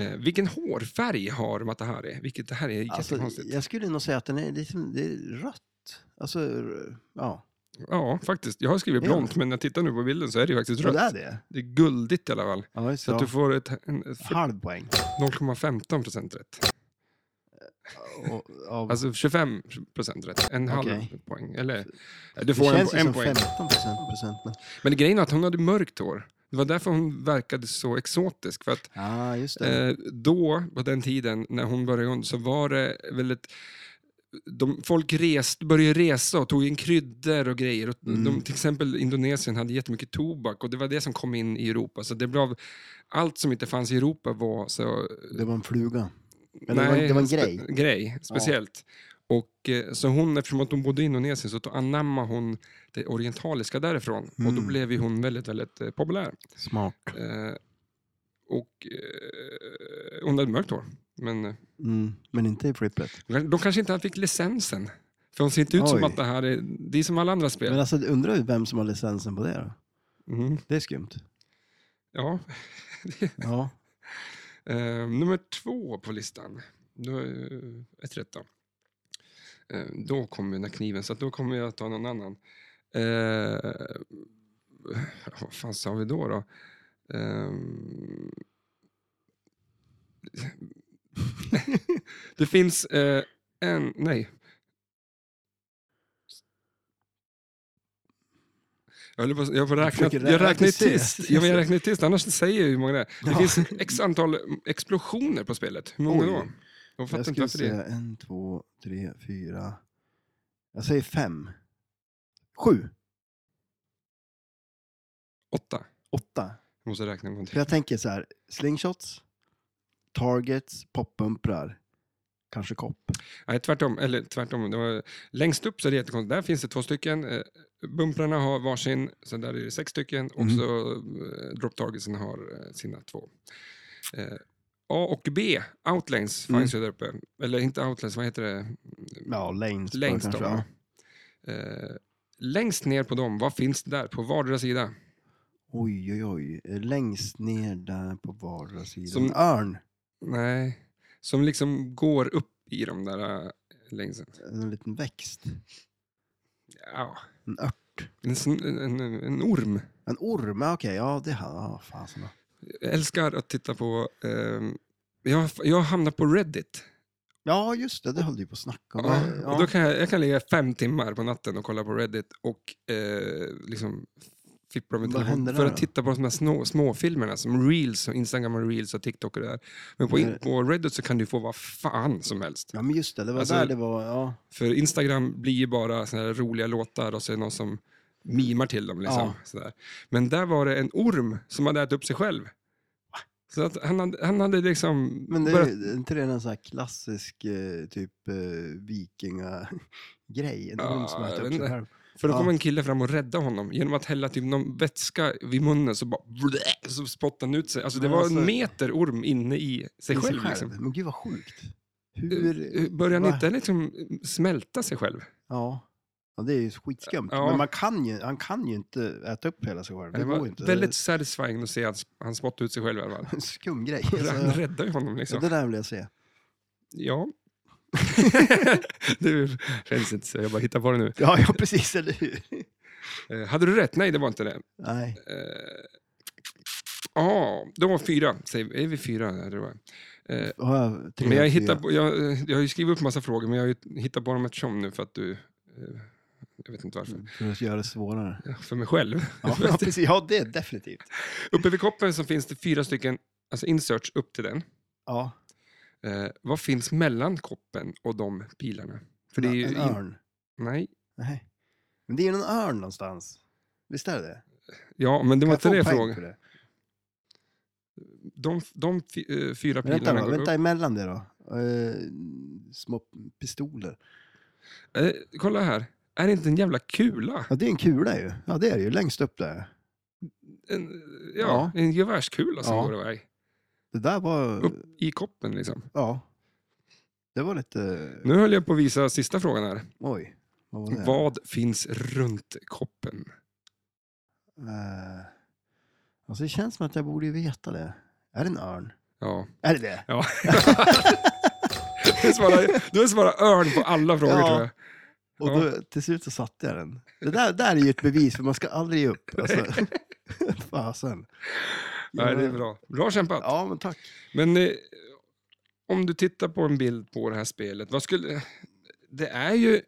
S2: Eh, vilken hårfärg har Matahari? Vilket, det här är
S3: Alltså,
S2: jättekonstigt.
S3: jag skulle nog säga att den är, liksom, det är rött. Alltså, r- ja.
S2: Ja, faktiskt. Jag har skrivit
S3: Ja.
S2: blont, men när jag tittar nu på bilden så är det ju faktiskt
S3: Rött. Det
S2: rött.
S3: är det.
S2: Det är guldigt i alla fall.
S3: Ja, just,
S2: Så
S3: det,
S2: att
S3: ja.
S2: du får ett, en, ett
S3: Halv poäng.
S2: 0,15 procent rätt.
S3: Och, av,
S2: Alltså 25 procent rätt. En halv
S3: Okej.
S2: poäng. Eller, du
S3: det
S2: får en,
S3: känns
S2: po-
S3: ju
S2: en
S3: som
S2: poäng.
S3: 15 procent. procent.
S2: Men grejen är att hon hade mörkt hår. Det var därför hon verkade så exotisk. För att
S3: Ja, just det.
S2: eh, då, på den tiden, när hon började om, så var det väldigt... De, folk rest, började resa och tog in kryddor och grejer. Och de,
S3: Mm.
S2: till exempel Indonesien hade jättemycket tobak och det var det som kom in i Europa. Så det blev, allt som inte fanns i Europa var så
S3: det var en fluga. Men det var- det var en
S2: spe-
S3: grej.
S2: grej speciellt. Och, eh, så hon, eftersom att hon bodde i Indonesien så anammade hon det orientaliska därifrån. Och då
S3: Mm.
S2: blev ju hon väldigt, väldigt eh, populär.
S3: Smart.
S2: Eh, och eh, hon hade mörkt hår. Men eh,
S3: Mm, men inte i flippet.
S2: de kanske inte fick licensen. För hon ser inte ut som
S3: Oj.
S2: att det här är, det är som alla andra spel.
S3: Men alltså, undrar ju vem som har licensen på det då?
S2: Mm,
S3: Det är skumt.
S2: ja.
S3: Ja.
S2: Eh, nummer två på listan. Då, eh, ett rätt då. Eh, då kommer den här kniven, så att då kommer jag att ta någon annan. Eh, vad fan sa vi då? då? Eh, det finns eh, en... Nej. Jag, höll på, jag, får räkna,
S3: försöker
S2: jag
S3: räkna
S2: räknar ju
S3: till
S2: tyst.
S3: sist.
S2: Ja, men jag räknar ju tyst, annars säger jag ju hur många det är. Det
S3: Ja.
S2: finns x antal explosioner på spelet. Hur många
S3: Oj.
S2: då? Jag
S3: Jag
S2: fattar inte
S3: skulle
S2: varför det är.
S3: säga en, två, tre, fyra. Jag säger fem. Sju.
S2: Åtta.
S3: Åtta.
S2: Jag måste räkna en gång till.
S3: För jag tänker så här. Slingshots. Targets. Poppumprar. Kanske kopp.
S2: Nej, tvärtom. Eller tvärtom. Det var, längst upp så är det jättekonstigt. Där finns det två stycken. Eh, Bumprarna har varsin, så där är det sex stycken. Och
S3: Mhm.
S2: så eh, drop targetsen har eh, sina två. Eh, A och B, outlanes,
S3: Mm.
S2: finns ju där uppe. Eller inte outlanes, vad heter det?
S3: Ja, längst.
S2: Längst då.
S3: kanske, ja.
S2: va? Eh, längst ner på dem, vad finns det där på vardera sida?
S3: Oj, oj, oj. Längst ner där på vardera sidan.
S2: Som-
S3: En örn.
S2: Nej, som liksom går upp i de där eh, längst.
S3: En liten växt.
S2: Ja,
S3: En ört.
S2: en, sn- en, en, en orm.
S3: En orm, ja, okej. Ja, det har ja, fasen. då.
S2: Jag älskar att titta på... ehm, jag, jag hamnar på Reddit.
S3: Ja, just det. Det höll du på att snacka om.
S2: Ja,
S3: Ja,
S2: Och då kan jag, jag kan ligga fem timmar på natten och kolla på Reddit och eh, liksom fippla med
S3: Vad händer
S2: telefonen
S3: där
S2: för att
S3: då?
S2: titta på de här små, småfilmerna som Reels, och Instagram och Reels och TikTok och det där. Men på, in,
S3: Mm.
S2: på Reddit så kan du få vad fan som helst.
S3: ja, men just det. Det var
S2: Alltså-
S3: där det var. Ja,
S2: För Instagram blir ju bara såna här roliga låtar och så är det någon som mimar till dem. Liksom,
S3: Ja.
S2: sådär. Men där var det en orm som hade ätit upp sig själv. Så att han, hade, han hade liksom...
S3: men det är
S2: börjat-
S3: ju inte det någon sån här klassisk eh, typ eh, vikingagrej? En
S2: Ja,
S3: orm som
S2: jag
S3: äter
S2: vet
S3: upp sig
S2: inte.
S3: själv.
S2: För då
S3: Ja.
S2: kom en kille fram och räddade honom genom att hälla typ någon vätska vid munnen så bara blä, så spottade han ut sig. Alltså det
S3: Men
S2: var
S3: alltså-
S2: en meter orm inne i sig
S3: I sig
S2: själv. Liksom. eh,
S3: Men gud vad sjukt. Hur...
S2: Börjar han
S3: va?
S2: inte liksom smälta sig själv?
S3: Ja. ja, det är ju skitskumt.
S2: Ja.
S3: Men man kan ju, han kan ju inte äta upp hela sig själv. Det,
S2: Det
S3: går
S2: var
S3: inte.
S2: väldigt satisfying att se att han spottade ut sig själv i alla fall.
S3: En skum grej.
S2: Han
S3: Så,
S2: räddade ju honom liksom.
S3: det där vill jag se.
S2: Ja. du känns inte så, jag bara hittar på det nu.
S3: Ja, ja precis, eller hur?
S2: Eh, hade du rätt? Nej, det var inte det.
S3: Nej.
S2: Eh, Ja, de var fyra. Säger, vi- är vi fyra? Ja, det var. Eh,
S3: Har jag tre,
S2: Men jag,
S3: fyra?
S2: hittar på, jag, eh, jag har ju skrivit upp massa frågor, men jag har ju hittat på dem eftersom nu för att du... eh, Jag vet inte varför.
S3: För att göra det svårare.
S2: För mig själv.
S3: Mm. Ja, ja, precis. Ja, det är definitivt.
S2: Uppe vid koppen så finns det fyra stycken alltså inserts upp till den.
S3: Ja,
S2: Eh, vad finns mellan koppen och de pilarna? För det är ju
S3: en
S2: in-
S3: örn.
S2: Nej.
S3: Nej. Men det är ju en örn någonstans. Visst är det det?
S2: Ja, men det
S3: Kan
S2: var
S3: jag
S2: inte
S3: få
S2: det
S3: en poäng
S2: frågan.
S3: för det?
S2: De, de fy- eh, fyra
S3: Men Vänta,
S2: pilarna
S3: då,
S2: går
S3: vänta emellan det då. Eh, små pistoler.
S2: upp. Eh, kolla här. Är det inte en jävla kula?
S3: Ja, det är en kula ju. Ja, det är det ju. Längst upp där.
S2: En, ja, en gevärskula som
S3: Ja.
S2: går iväg.
S3: Det där var...
S2: Upp i koppen liksom.
S3: Ja. Det var lite...
S2: Nu höll jag på att visa sista frågan här.
S3: Oj. Vad var det?
S2: Vad finns runt koppen?
S3: Eh, alltså, det känns som att jag borde ju veta det. Är det en örn?
S2: Ja.
S3: Är det det?
S2: ja. du svarar, du svarar örn på alla frågor
S3: Ja.
S2: tror jag.
S3: Och
S2: Ja.
S3: då, till slut så satte jag den. Det där, där är ju ett bevis, för man ska aldrig ge upp. Alltså. Fasen.
S2: Nej, det är bra. Bra kämpat.
S3: Ja, men tack.
S2: Men eh, om du tittar på en bild på det här spelet, vad skulle... Det är ju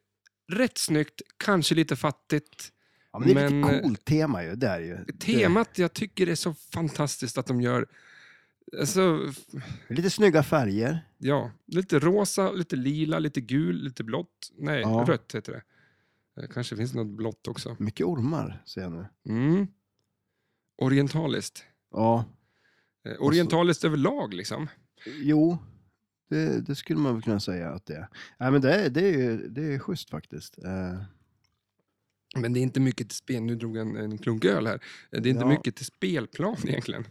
S2: rätt snyggt, kanske lite fattigt.
S3: Ja, men det är
S2: Men, eh,
S3: lite coolt tema ju. Det är ju. Det-
S2: Temat, jag tycker det är så fantastiskt att de gör... Alltså, f-
S3: Lite snygga färger.
S2: ja, lite rosa, lite lila, lite gul, lite blått. Nej,
S3: Ja.
S2: rött heter det. Eh, Kanske finns något blått också.
S3: Mycket ormar, ser jag nu.
S2: Mm. Orientaliskt.
S3: Ja,
S2: Eh,
S3: Alltså-
S2: Orientaliskt överlag liksom.
S3: Jo, det, det skulle man väl kunna säga att det är. Nej, men det, är- det är ju det är schysst faktiskt. Eh,
S2: Men det är inte mycket till spel. Nu drog jag en, en klunk öl här. Eh, Det är inte
S3: Ja.
S2: mycket till spelplan egentligen.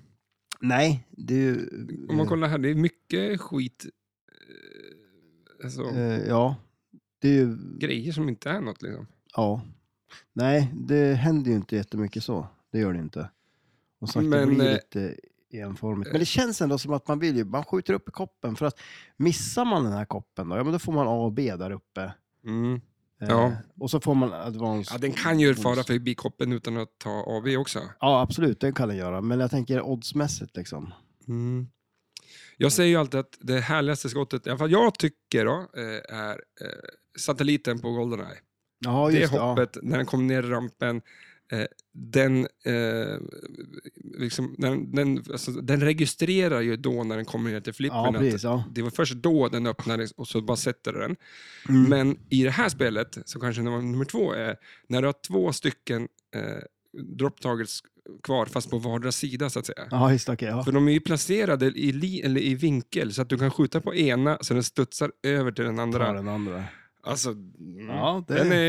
S3: nej, det är ju...
S2: Om
S3: Mm.
S2: man kollar här, det är mycket skit. eh, Alltså,
S3: eh, ja, det är ju...
S2: grejer som inte är något liksom.
S3: Ja. Nej, det händer ju inte jättemycket så. Det gör det inte. Och sagt,
S2: Men,
S3: det blir
S2: eh,
S3: lite enformigt. Men det känns ändå som att man vill ju, man skjuter upp i koppen för att missar man den här koppen då, ja men då får man A och B där uppe.
S2: Mm.
S3: Eh,
S2: Ja.
S3: Och så får man advance.
S2: Ja, den kan ju fara förbi koppen utan att ta AV också.
S3: Ja, absolut, det kan den göra. Men jag tänker oddsmässigt liksom.
S2: Jag säger ju alltid att det härligaste skottet, i alla fall jag tycker då, eh, är eh, satelliten på Goldeneye.
S3: Ja,
S2: det
S3: just det. ja.
S2: hoppet, när den kom ner i rampen, eh, den, eh, liksom, den, den, alltså, den registrerar ju då när den kommer ner till flippen
S3: Ja,
S2: att
S3: precis. Ja.
S2: Det var först då den öppnades och så bara sätter du den.
S3: Mm.
S2: Men i det här spelet, så kanske nummer nummer två är, när du har två stycken eh, drop targets kvar, fast på vardera sida så att säga.
S3: Ja, just det. okej, ja.
S2: För de är ju placerade i, li, eller i vinkel, så att du kan skjuta på ena så den studsar över till den andra.
S3: Ta den andra.
S2: Alltså, mm,
S3: Ja, det-
S2: den är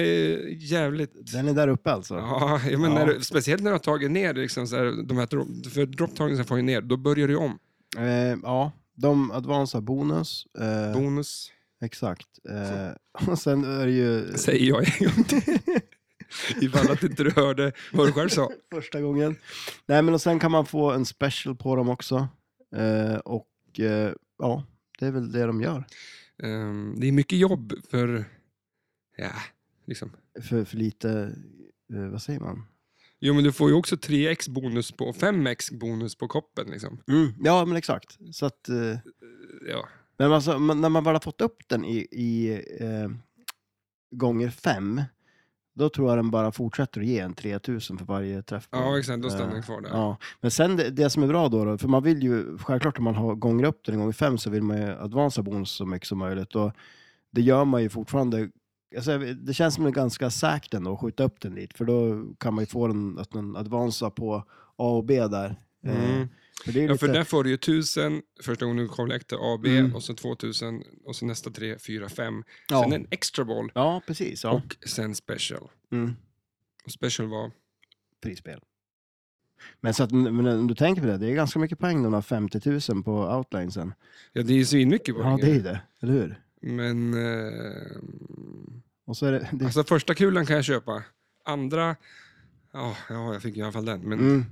S2: jävligt...
S3: Den är där uppe alltså?
S2: Ja, ja, men
S3: Ja.
S2: När du, speciellt när du har tagit ner, liksom så här, de här, dro- för drop targets får ju ner, då börjar du om.
S3: Eh, ja, de advansar bonus. Eh,
S2: Bonus,
S3: exakt. Eh, och sen är det ju
S2: säger jag en gång till. Ifall att inte du hörde vad du själv sa.
S3: första gången. Nej, men och sen kan man få en special på dem också. Eh, och eh, ja, det är väl det de gör.
S2: Ehm, det är mycket jobb för... Ja, liksom.
S3: För, för lite, eh, vad säger man?
S2: Jo, men du får ju också 3x bonus på, och 5x bonus på koppen. Liksom.
S3: Mm. Ja, men exakt. Så att, eh,
S2: Ja.
S3: men alltså, man, när man väl har fått upp den i, i eh, gånger fem, då tror jag den bara fortsätter att ge en 3000 för varje träff. på den.
S2: ja, exakt. Då stannar den
S3: Eh,
S2: kvar där.
S3: Ja, men sen det, det som är bra då, då, för man vill ju, självklart om man har gånger upp den en gång i fem så vill man ju advansa bonus så mycket som möjligt och det gör man ju fortfarande. Alltså, jag- det känns som det är ganska säkert ändå att skjuta upp den dit för då kan man ju få den att den advansar på A och B där. Eh,
S2: Mm.
S3: För det är
S2: Ja,
S3: lite,
S2: för där får du ju 1000 första gången du collectar AB,
S3: Mm.
S2: och så 2000, och så nästa 3, 4, 5.
S3: ja.
S2: Sen en extra boll,
S3: ja, precis. Ja.
S2: och sen special.
S3: Mm.
S2: Och special var...
S3: Prisspel. Men, så att, men om du tänker på det, det är ganska mycket poäng de har 50 000 på outlinesen.
S2: Ja, det är ju svinmycket poäng.
S3: Ja, det är ju det, eller hur?
S2: Men... Eh,
S3: Och så är det, det
S2: alltså första kulan kan jag köpa. Andra... ja, ja, jag fick i alla fall den. Men
S3: mm,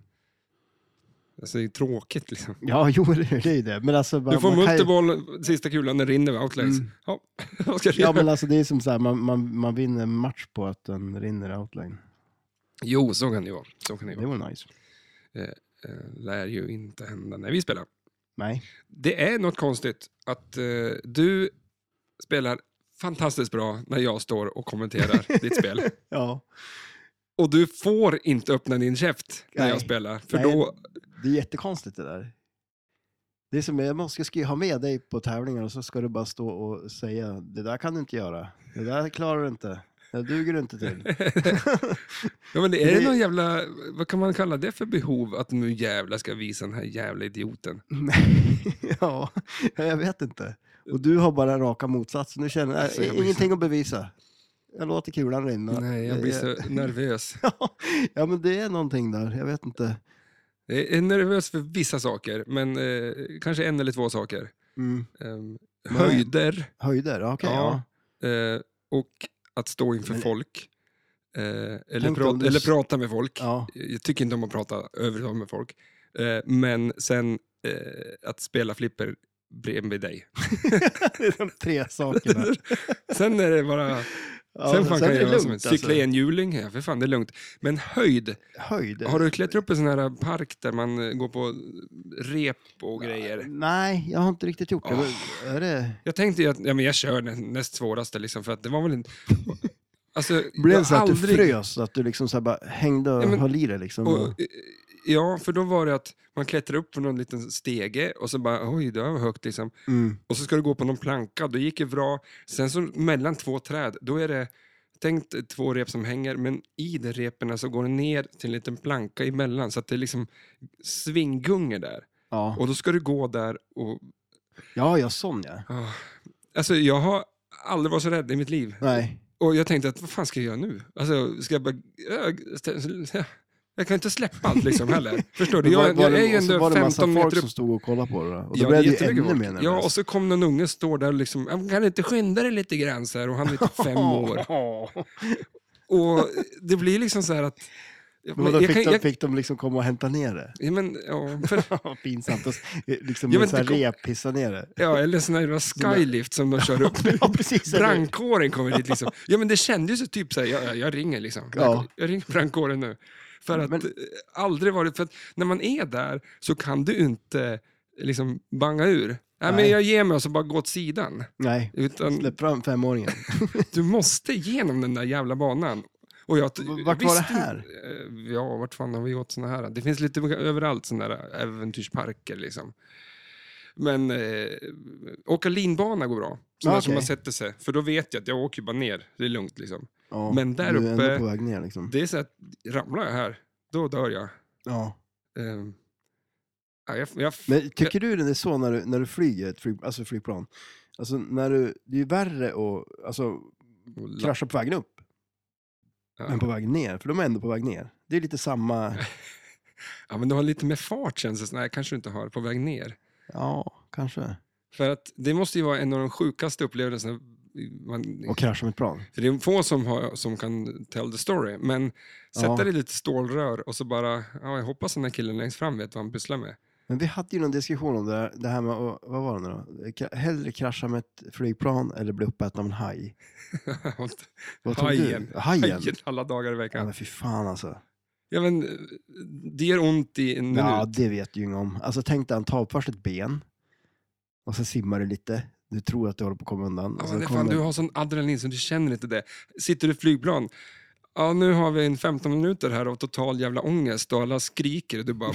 S2: alltså, det är tråkigt liksom.
S3: ja, jo, eller hur, det är ju det. Men alltså, bara-
S2: Du får
S3: man kan ju-
S2: multiboll, sista kulan, den rinner med outlays.
S3: Mm.
S2: Ja, vad ska jag
S3: Ja,
S2: göra?
S3: men alltså det är som så här, man, man, man vinner en match på att den rinner outline.
S2: Jo, så kan det ju vara. Så kan det ju
S3: Det
S2: vara.
S3: var nice.
S2: Eh, Lär ju inte hända när vi spelar.
S3: Nej.
S2: Det är något konstigt att eh, du spelar fantastiskt bra när jag står och kommenterar ditt spel.
S3: Ja,
S2: Och du får inte öppna din käft när
S3: Nej.
S2: jag spelar. För
S3: Nej.
S2: då...
S3: det är jättekonstigt det där. Det är som, jag måste, ska ju ha med dig på tävlingar och så ska du bara stå och säga, det där kan du inte göra. Det där klarar du inte. Det duger du inte till.
S2: Ja, men är det
S3: Det-
S2: någon jävla... Vad kan man kalla det för behov att nu jävla ska visa den här jävla idioten?
S3: Nej, ja, jag vet inte. Och du har bara raka motsatsen. Du känner,
S2: Alltså, jag
S3: äh,
S2: blir så-
S3: ingenting att bevisa. Jag låter kulan rinna.
S2: Nej, jag blir så nervös.
S3: ja, men det är någonting där. Jag vet inte.
S2: Jag är nervös för vissa saker, men eh, kanske en eller två saker.
S3: Mm.
S2: Ehm,
S3: Nej.
S2: höjder
S3: Höjder, ja, okej. ja.
S2: ja, eh, och att stå inför
S3: Men-
S2: folk. Eh, eller,
S3: Tänk om
S2: prata,
S3: du-
S2: eller prata med folk.
S3: Ja.
S2: Jag tycker inte om att prata överhuvudtaget med folk. Eh, men sen eh, att spela flipper bredvid dig.
S3: Det är de tre sakerna.
S2: sen är det bara...
S3: Ja,
S2: sen fan kan
S3: är
S2: jag
S3: det
S2: göra som en
S3: lugnt, alltså.
S2: cykla i en hjuling. Ja, för fan, det är lugnt. Men höjd.
S3: Höjd?
S2: Har du klättrat upp en sån här park där man eh, går på rep och grejer?
S3: Nej, jag har inte riktigt gjort det. Men Är det...
S2: Jag tänkte ju att ja, men jag kör den näst svåraste, liksom, för att det var väl inte... Alltså,
S3: Blev
S2: jag
S3: det så att
S2: aldrig-
S3: du frös? Så att du liksom så här bara hängde och
S2: Ja, men-
S3: höll i det liksom?
S2: Och,
S3: Och...
S2: eh, ja, för då var det att man klättrar upp på någon liten stege och så bara, oj, det var högt liksom.
S3: Mm.
S2: Och så ska du gå på någon planka, då gick det bra. Sen så mellan två träd, då är det, tänk dig två rep som hänger, men i de repen så går det ner till en liten planka emellan, så att det är liksom svinggungor där.
S3: Ja.
S2: Och då ska du gå där och...
S3: ja, jag sån ja.
S2: ah. Alltså, jag har aldrig varit så rädd i mitt liv.
S3: Nej.
S2: Och jag tänkte att vad fan ska jag göra nu? Alltså, ska jag bara... Jag, jag kan inte släppa allt liksom heller. Förstår du?
S3: Men
S2: Jag,
S3: var
S2: jag
S3: det-
S2: är ju
S3: och så
S2: ändå
S3: var det
S2: 15
S3: massa folk
S2: meter upp.
S3: som stod och kollade på det. då. Och då
S2: Ja, det är
S3: blev det ju
S2: jättemycket
S3: ännu
S2: folk.
S3: mer nervös.
S2: Ja, och så kom någon unge och står där och liksom, "Ja, men kan du inte skynda dig lite grann så här? Och han är typ fem år. Och det blir liksom så här att...
S3: Men då
S2: jag
S3: fick,
S2: kan-
S3: de,
S2: jag-
S3: fick de liksom komma och hämta ner det.
S2: ja, men, ja, för,
S3: Pinsamt. Och s- liksom
S2: Ja,
S3: med
S2: men
S3: en sån här
S2: det kom-
S3: rep pissa ner det.
S2: ja, eller sån här jävla skylift som de kör upp.
S3: Ja, precis. eller hur?
S2: Brandkåren kommer dit liksom. Ja, men det kändes ju typ så här, jag, jag ringer liksom.
S3: Ja.
S2: Jag ringer brandkåren nu. För att
S3: Men-
S2: eh, aldrig varit, för att när man är där så kan du inte liksom banga ur. Nej, men
S3: Nej.
S2: jag ger mig och så bara gå åt sidan.
S3: Nej,
S2: Utan,
S3: släpp fram femåringen.
S2: Du måste igenom den där jävla banan. Och jag,
S3: V- vart var
S2: visste-
S3: det här?
S2: Eh, Ja, vart fan har vi gått såna här? Det finns lite överallt såna där äventyrsparker liksom. Men eh, åka linbana går bra. Sådana
S3: Ja,
S2: som
S3: okej.
S2: man sätter sig. För då vet jag att jag åker ju bara ner. Det är lugnt liksom.
S3: Ja,
S2: Men där
S3: du är ändå
S2: uppe-
S3: på väg ner liksom.
S2: Det är så att ramlar jag här, då dör jag.
S3: Ja.
S2: Eh, ja, jag, jag
S3: Men tycker du det är så när du, när du flyger ett flyg, alltså flygplan? Alltså när du, det är ju värre att alltså, krascha på vägen upp
S2: ja.
S3: än på vägen ner, för de är ändå på väg ner. Det är lite samma,
S2: ja, men du har lite mer fart känns det som. Nej, kanske du inte har på väg ner.
S3: ja, kanske.
S2: För att det måste ju vara en av de sjukaste upplevelserna man
S3: Och krascha med ett plan.
S2: För det är få som, har, som kan tell the story, men sätta
S3: Ja.
S2: dig i lite stålrör och så bara, ja, jag hoppas den här killen längst fram vet vad han pysslar med.
S3: Men vi hade ju någon diskussion om det här, det här med, att- vad var det nu då? Ka- Hellre krascha med ett flygplan eller bli uppäten av en haj. Vad tog
S2: Hajen.
S3: Du? Hajen.
S2: Hajen alla dagar i
S3: Ja,
S2: veckan.
S3: men fy fan alltså.
S2: Ja, men, eh, det gör ont i en
S3: Ja,
S2: minut.
S3: det vet du ju inget om. Alltså tänk dig, han tar först ett ben och så simmar du lite. Du tror att du håller på att komma undan.
S2: Ja,
S3: och
S2: men
S3: så
S2: det är fan,
S3: kommer...
S2: du har sån adrenalin så du känner inte det. Sitter du i flygplan, ja, nu har vi en 15 minuter här av total jävla ångest och alla skriker och du bara...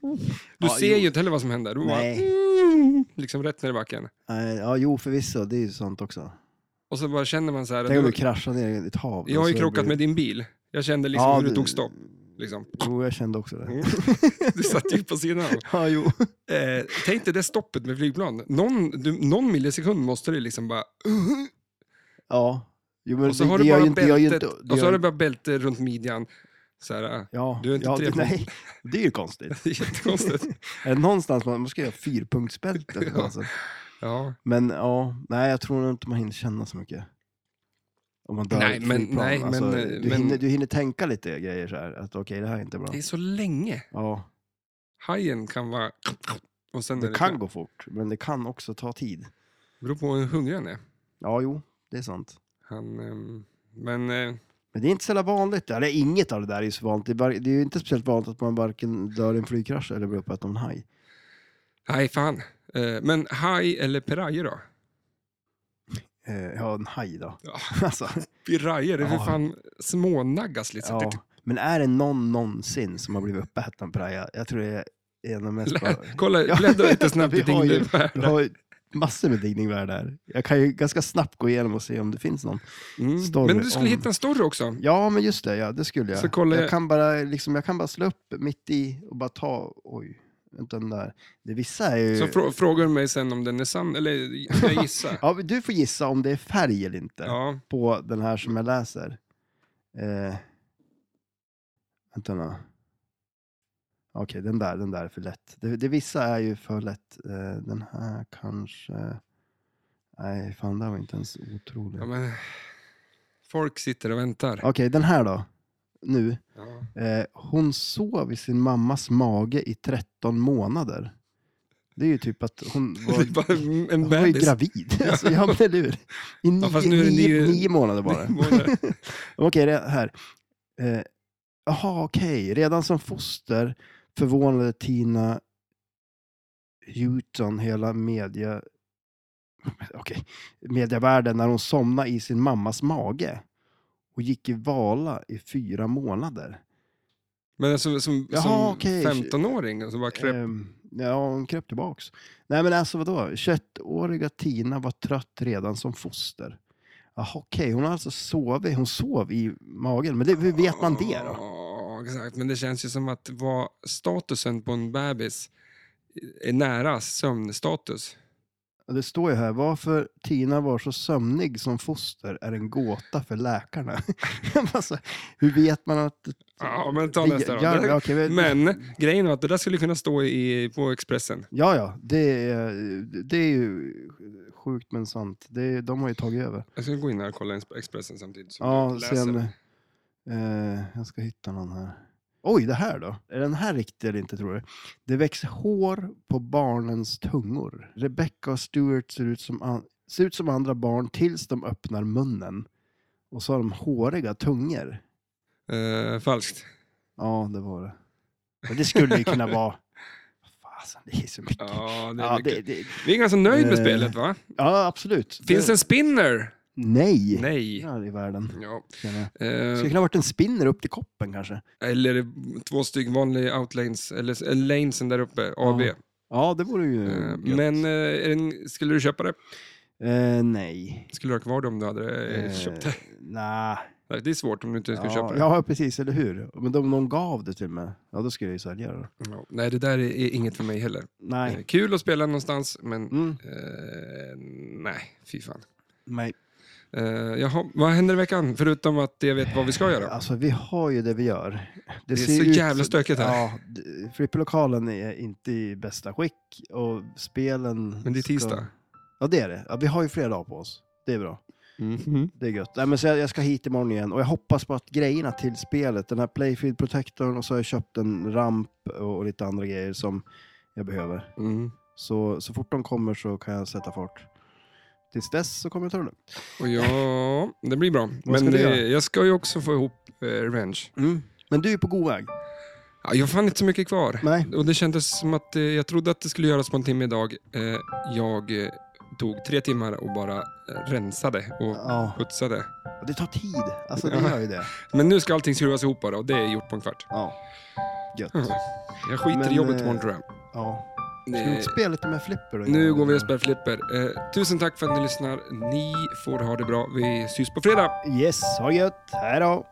S2: Du
S3: Ja,
S2: ser
S3: jo.
S2: ju inte heller vad som händer. Du bara,
S3: Nej.
S2: liksom rätt ner i backen.
S3: Nej, Ja, jo förvisso, det är ju sånt också.
S2: Och så bara känner man så här...
S3: Tänk om
S2: du-
S3: du kraschar ner i ett
S2: Jag
S3: hav.
S2: har ju
S3: alltså, det
S2: krockat
S3: blir-
S2: med din bil. Jag kände liksom
S3: Ja,
S2: hur du
S3: det-
S2: tog stopp. Liksom.
S3: Jo, jag kände också det.
S2: Mm. Du satt ju på sidan.
S3: Ja, jo.
S2: Eh, tänk dig det stoppet med flygplan. Någon, du, någon millisekund måste du liksom bara...
S3: Ja. Jo, men
S2: Och så
S3: det-
S2: har
S3: det
S2: du
S3: gör
S2: bara
S3: ju inte- det gör ju
S2: bältet,
S3: inte- det
S2: och så
S3: gör
S2: har
S3: ju-
S2: du bara bälte runt midjan. Så här, äh,
S3: Ja,
S2: Du är inte
S3: ja,
S2: tre-
S3: nej, det är ju konstigt.
S2: det är jättekonstigt.
S3: Är det någonstans man, man ska göra fyrpunktsbälte?
S2: Ja.
S3: alltså.
S2: Ja.
S3: Men ja, nej, jag tror nog inte man hinner känna så mycket. Om man dör
S2: Nej,
S3: i ett
S2: men-
S3: flygplan.
S2: nej,
S3: alltså,
S2: men, eh,
S3: du,
S2: men-
S3: Hinner, du hinner tänka lite grejer så här, att okej, det här är inte bra.
S2: Det är så länge.
S3: Ja,
S2: Hajen kan vara... Och sen är
S3: det
S2: det
S3: kan gå fort, men det kan också ta tid.
S2: beror på hur hungrig han är.
S3: Ja, jo, det är sant.
S2: Han, ehm, men eh,
S3: Men det är inte så jävla vanligt. Eller inget av det där är ju så vanligt. Det är var- Det är ju inte speciellt vanligt att man varken dör i en flygkrasch eller blir uppäten av en haj.
S2: nej, fan. Eh, men haj eller piraye då?
S3: Eh, ja, en haj då.
S2: Ja.
S3: alltså,
S2: Piraye, det är för
S3: Ja.
S2: fan smånaggas liksom. lite.
S3: ja.
S2: Ja.
S3: Men är det någon någonsin som har blivit uppäten på det här? Jag tror det är en av de mest... Bara...
S2: Kolla,
S3: Ja.
S2: bläddra lite snabbt i
S3: Vi har ju- Du
S2: Dingelvärlden.
S3: har ju massor med digningvärd där. Jag kan ju ganska snabbt gå igenom och se om det finns någon.
S2: Mm.
S3: story
S2: Men du skulle
S3: om-
S2: hitta en story också.
S3: Ja, men just det. Ja, det skulle jag.
S2: Så kolla-
S3: jag, kan bara, liksom, jag kan bara slå upp mitt i och bara ta... Oj, vänta den där. Det vissa är ju...
S2: Så frå- frågar du mig sen om den är sann, eller ska jag gissa?
S3: Ja, men du får gissa om det är färg eller inte
S2: ja.
S3: på den här som jag läser. Eh, vänta nu. Okej, den där, den där är för lätt. Det, det vissa är ju för lätt. Eh, den här kanske... Nej, fan, det var inte ens otroligt.
S2: ja, men... Folk sitter och väntar.
S3: Okej, den här då. Nu.
S2: Ja.
S3: Eh, hon sov i sin mammas mage i 13 månader. Det är ju typ att hon
S2: Det är
S3: var,
S2: bara en
S3: hon var ju
S2: bebis.
S3: gravid. Alltså, ja, men eller hur? I nio,
S2: fast nu är det
S3: nio,
S2: nio-
S3: nio månader bara.
S2: Nio månader.
S3: Okej, det här. Eh, Jaha, okej. Redan som foster förvånade Tina Houghton hela media... Okej. Medievärlden när hon somnade i sin mammas mage och gick i vala i fyra månader.
S2: Men alltså, som,
S3: Jaha,
S2: som
S3: okej.
S2: 15-åring, och så bara kröp.
S3: Ehm, ja, hon kröp tillbaks. Nej, men alltså vadå? 21-åriga Tina var trött redan som foster. Jaha, okej. Hon har alltså sovit. Hon sov i magen. Men det, hur vet man det då?
S2: Ja, exakt. Men det känns ju som att vad statusen på en bebis är nära sömnstatus.
S3: Ja, Det står ju här, varför Tina var så sömnig som foster är en gåta för läkarna. alltså, hur vet man att...
S2: Ja, men ta nästa då.
S3: Ja, ja, okej, men-
S2: Men grejen var att det där skulle kunna stå i, på Expressen.
S3: Ja, ja, det är, det är ju sjukt men sant. Det är, de har ju tagit över.
S2: Jag ska gå in här och kolla Expressen samtidigt som
S3: Ja,
S2: du läser.
S3: sen, eh, jag ska hitta någon här. Oj, det här då? Är den här riktig eller inte tror du? Det växer hår på barnens tungor. Rebecca och Stuart ser ut som, an- ser ut som andra barn tills de öppnar munnen. Och så har de håriga tungor.
S2: Eh, falskt.
S3: Ja, det var det. Men det skulle ju kunna vara... Fasen, det är så mycket.
S2: Ja, det är
S3: Ja,
S2: mycket.
S3: det, det,
S2: Vi är ganska nöjda med
S3: Eh,
S2: spelet, va?
S3: ja absolut.
S2: Finns
S3: det,
S2: en spinner?
S3: Nej.
S2: Nej.
S3: Ja, i världen.
S2: Ja.
S3: känner jag. Det
S2: Eh,
S3: skulle kunna ha varit en spinner upp till koppen kanske.
S2: eller två stycken vanliga outlanes, eller eller lanesen där uppe, AB.
S3: Ja, Ja, det vore ju...
S2: Eh,
S3: gött.
S2: Men eh, är den, skulle du köpa det?
S3: Eh, nej.
S2: Skulle du ha kvar det om du hade eh, köpt det?
S3: Nej.
S2: Nej, Det är svårt om du inte ska köpa
S3: Ja,
S2: det.
S3: ja, precis. Eller hur? Men om någon gav det till mig, ja då skulle jag ju sälja det.
S2: Ja, Nej, det där är inget för mig heller. Eh,
S3: Nej.
S2: Kul att spela någonstans, men
S3: Mm.
S2: eh, nej, fy fan.
S3: Nej.
S2: Eh, jaha, vad händer i veckan? Förutom att jag vet vad vi ska göra.
S3: Alltså, vi har ju det vi gör. Det,
S2: är
S3: ser
S2: så
S3: ut-
S2: jävla stökigt här.
S3: Ja, d- flipperlokalen är inte i bästa skick och spelen...
S2: Men det är
S3: ska-
S2: tisdag.
S3: Ja, det är det. Ja, vi har ju flera dagar på oss. Det är bra.
S2: Mhm.
S3: Det är gött. Nej, men så jag, jag ska hit imorgon igen och jag hoppas på att grejerna till spelet, den här Playfield Protectorn och så har jag köpt en ramp och, och lite andra grejer som jag behöver.
S2: Mm.
S3: Så, så fort de kommer så kan jag sätta fart. Tills dess så kommer jag ta det lugnt.
S2: Och ja, det blir bra.
S3: Vad ska
S2: Men
S3: du
S2: eh,
S3: göra?
S2: jag ska ju också få ihop eh, Revenge.
S3: Men du är på god väg.
S2: Ja, jag har fan inte så mycket kvar.
S3: Nej.
S2: Och det kändes som att eh, jag trodde att det skulle göras på en timme idag. Eh, jag eh, tog tre timmar och bara eh, rensade och
S3: Ja,
S2: putsade.
S3: det tar tid. Alltså det
S2: Ja.
S3: gör ju det.
S2: Men nu ska allting skruvas ihop bara och det är gjort på en kvart.
S3: Ja. Gött.
S2: Mm. Jag skiter
S3: Men,
S2: i jobbet
S3: eh,
S2: imorgon tror jag.
S3: Ja. Ska vi
S2: Eh,
S3: inte spela lite mer flipper då?
S2: nu går vi och spelar flipper. Eh, tusen tack för att ni lyssnar. Ni får ha det bra. Vi syns på fredag.
S3: Yes, ha det gött. Hej då.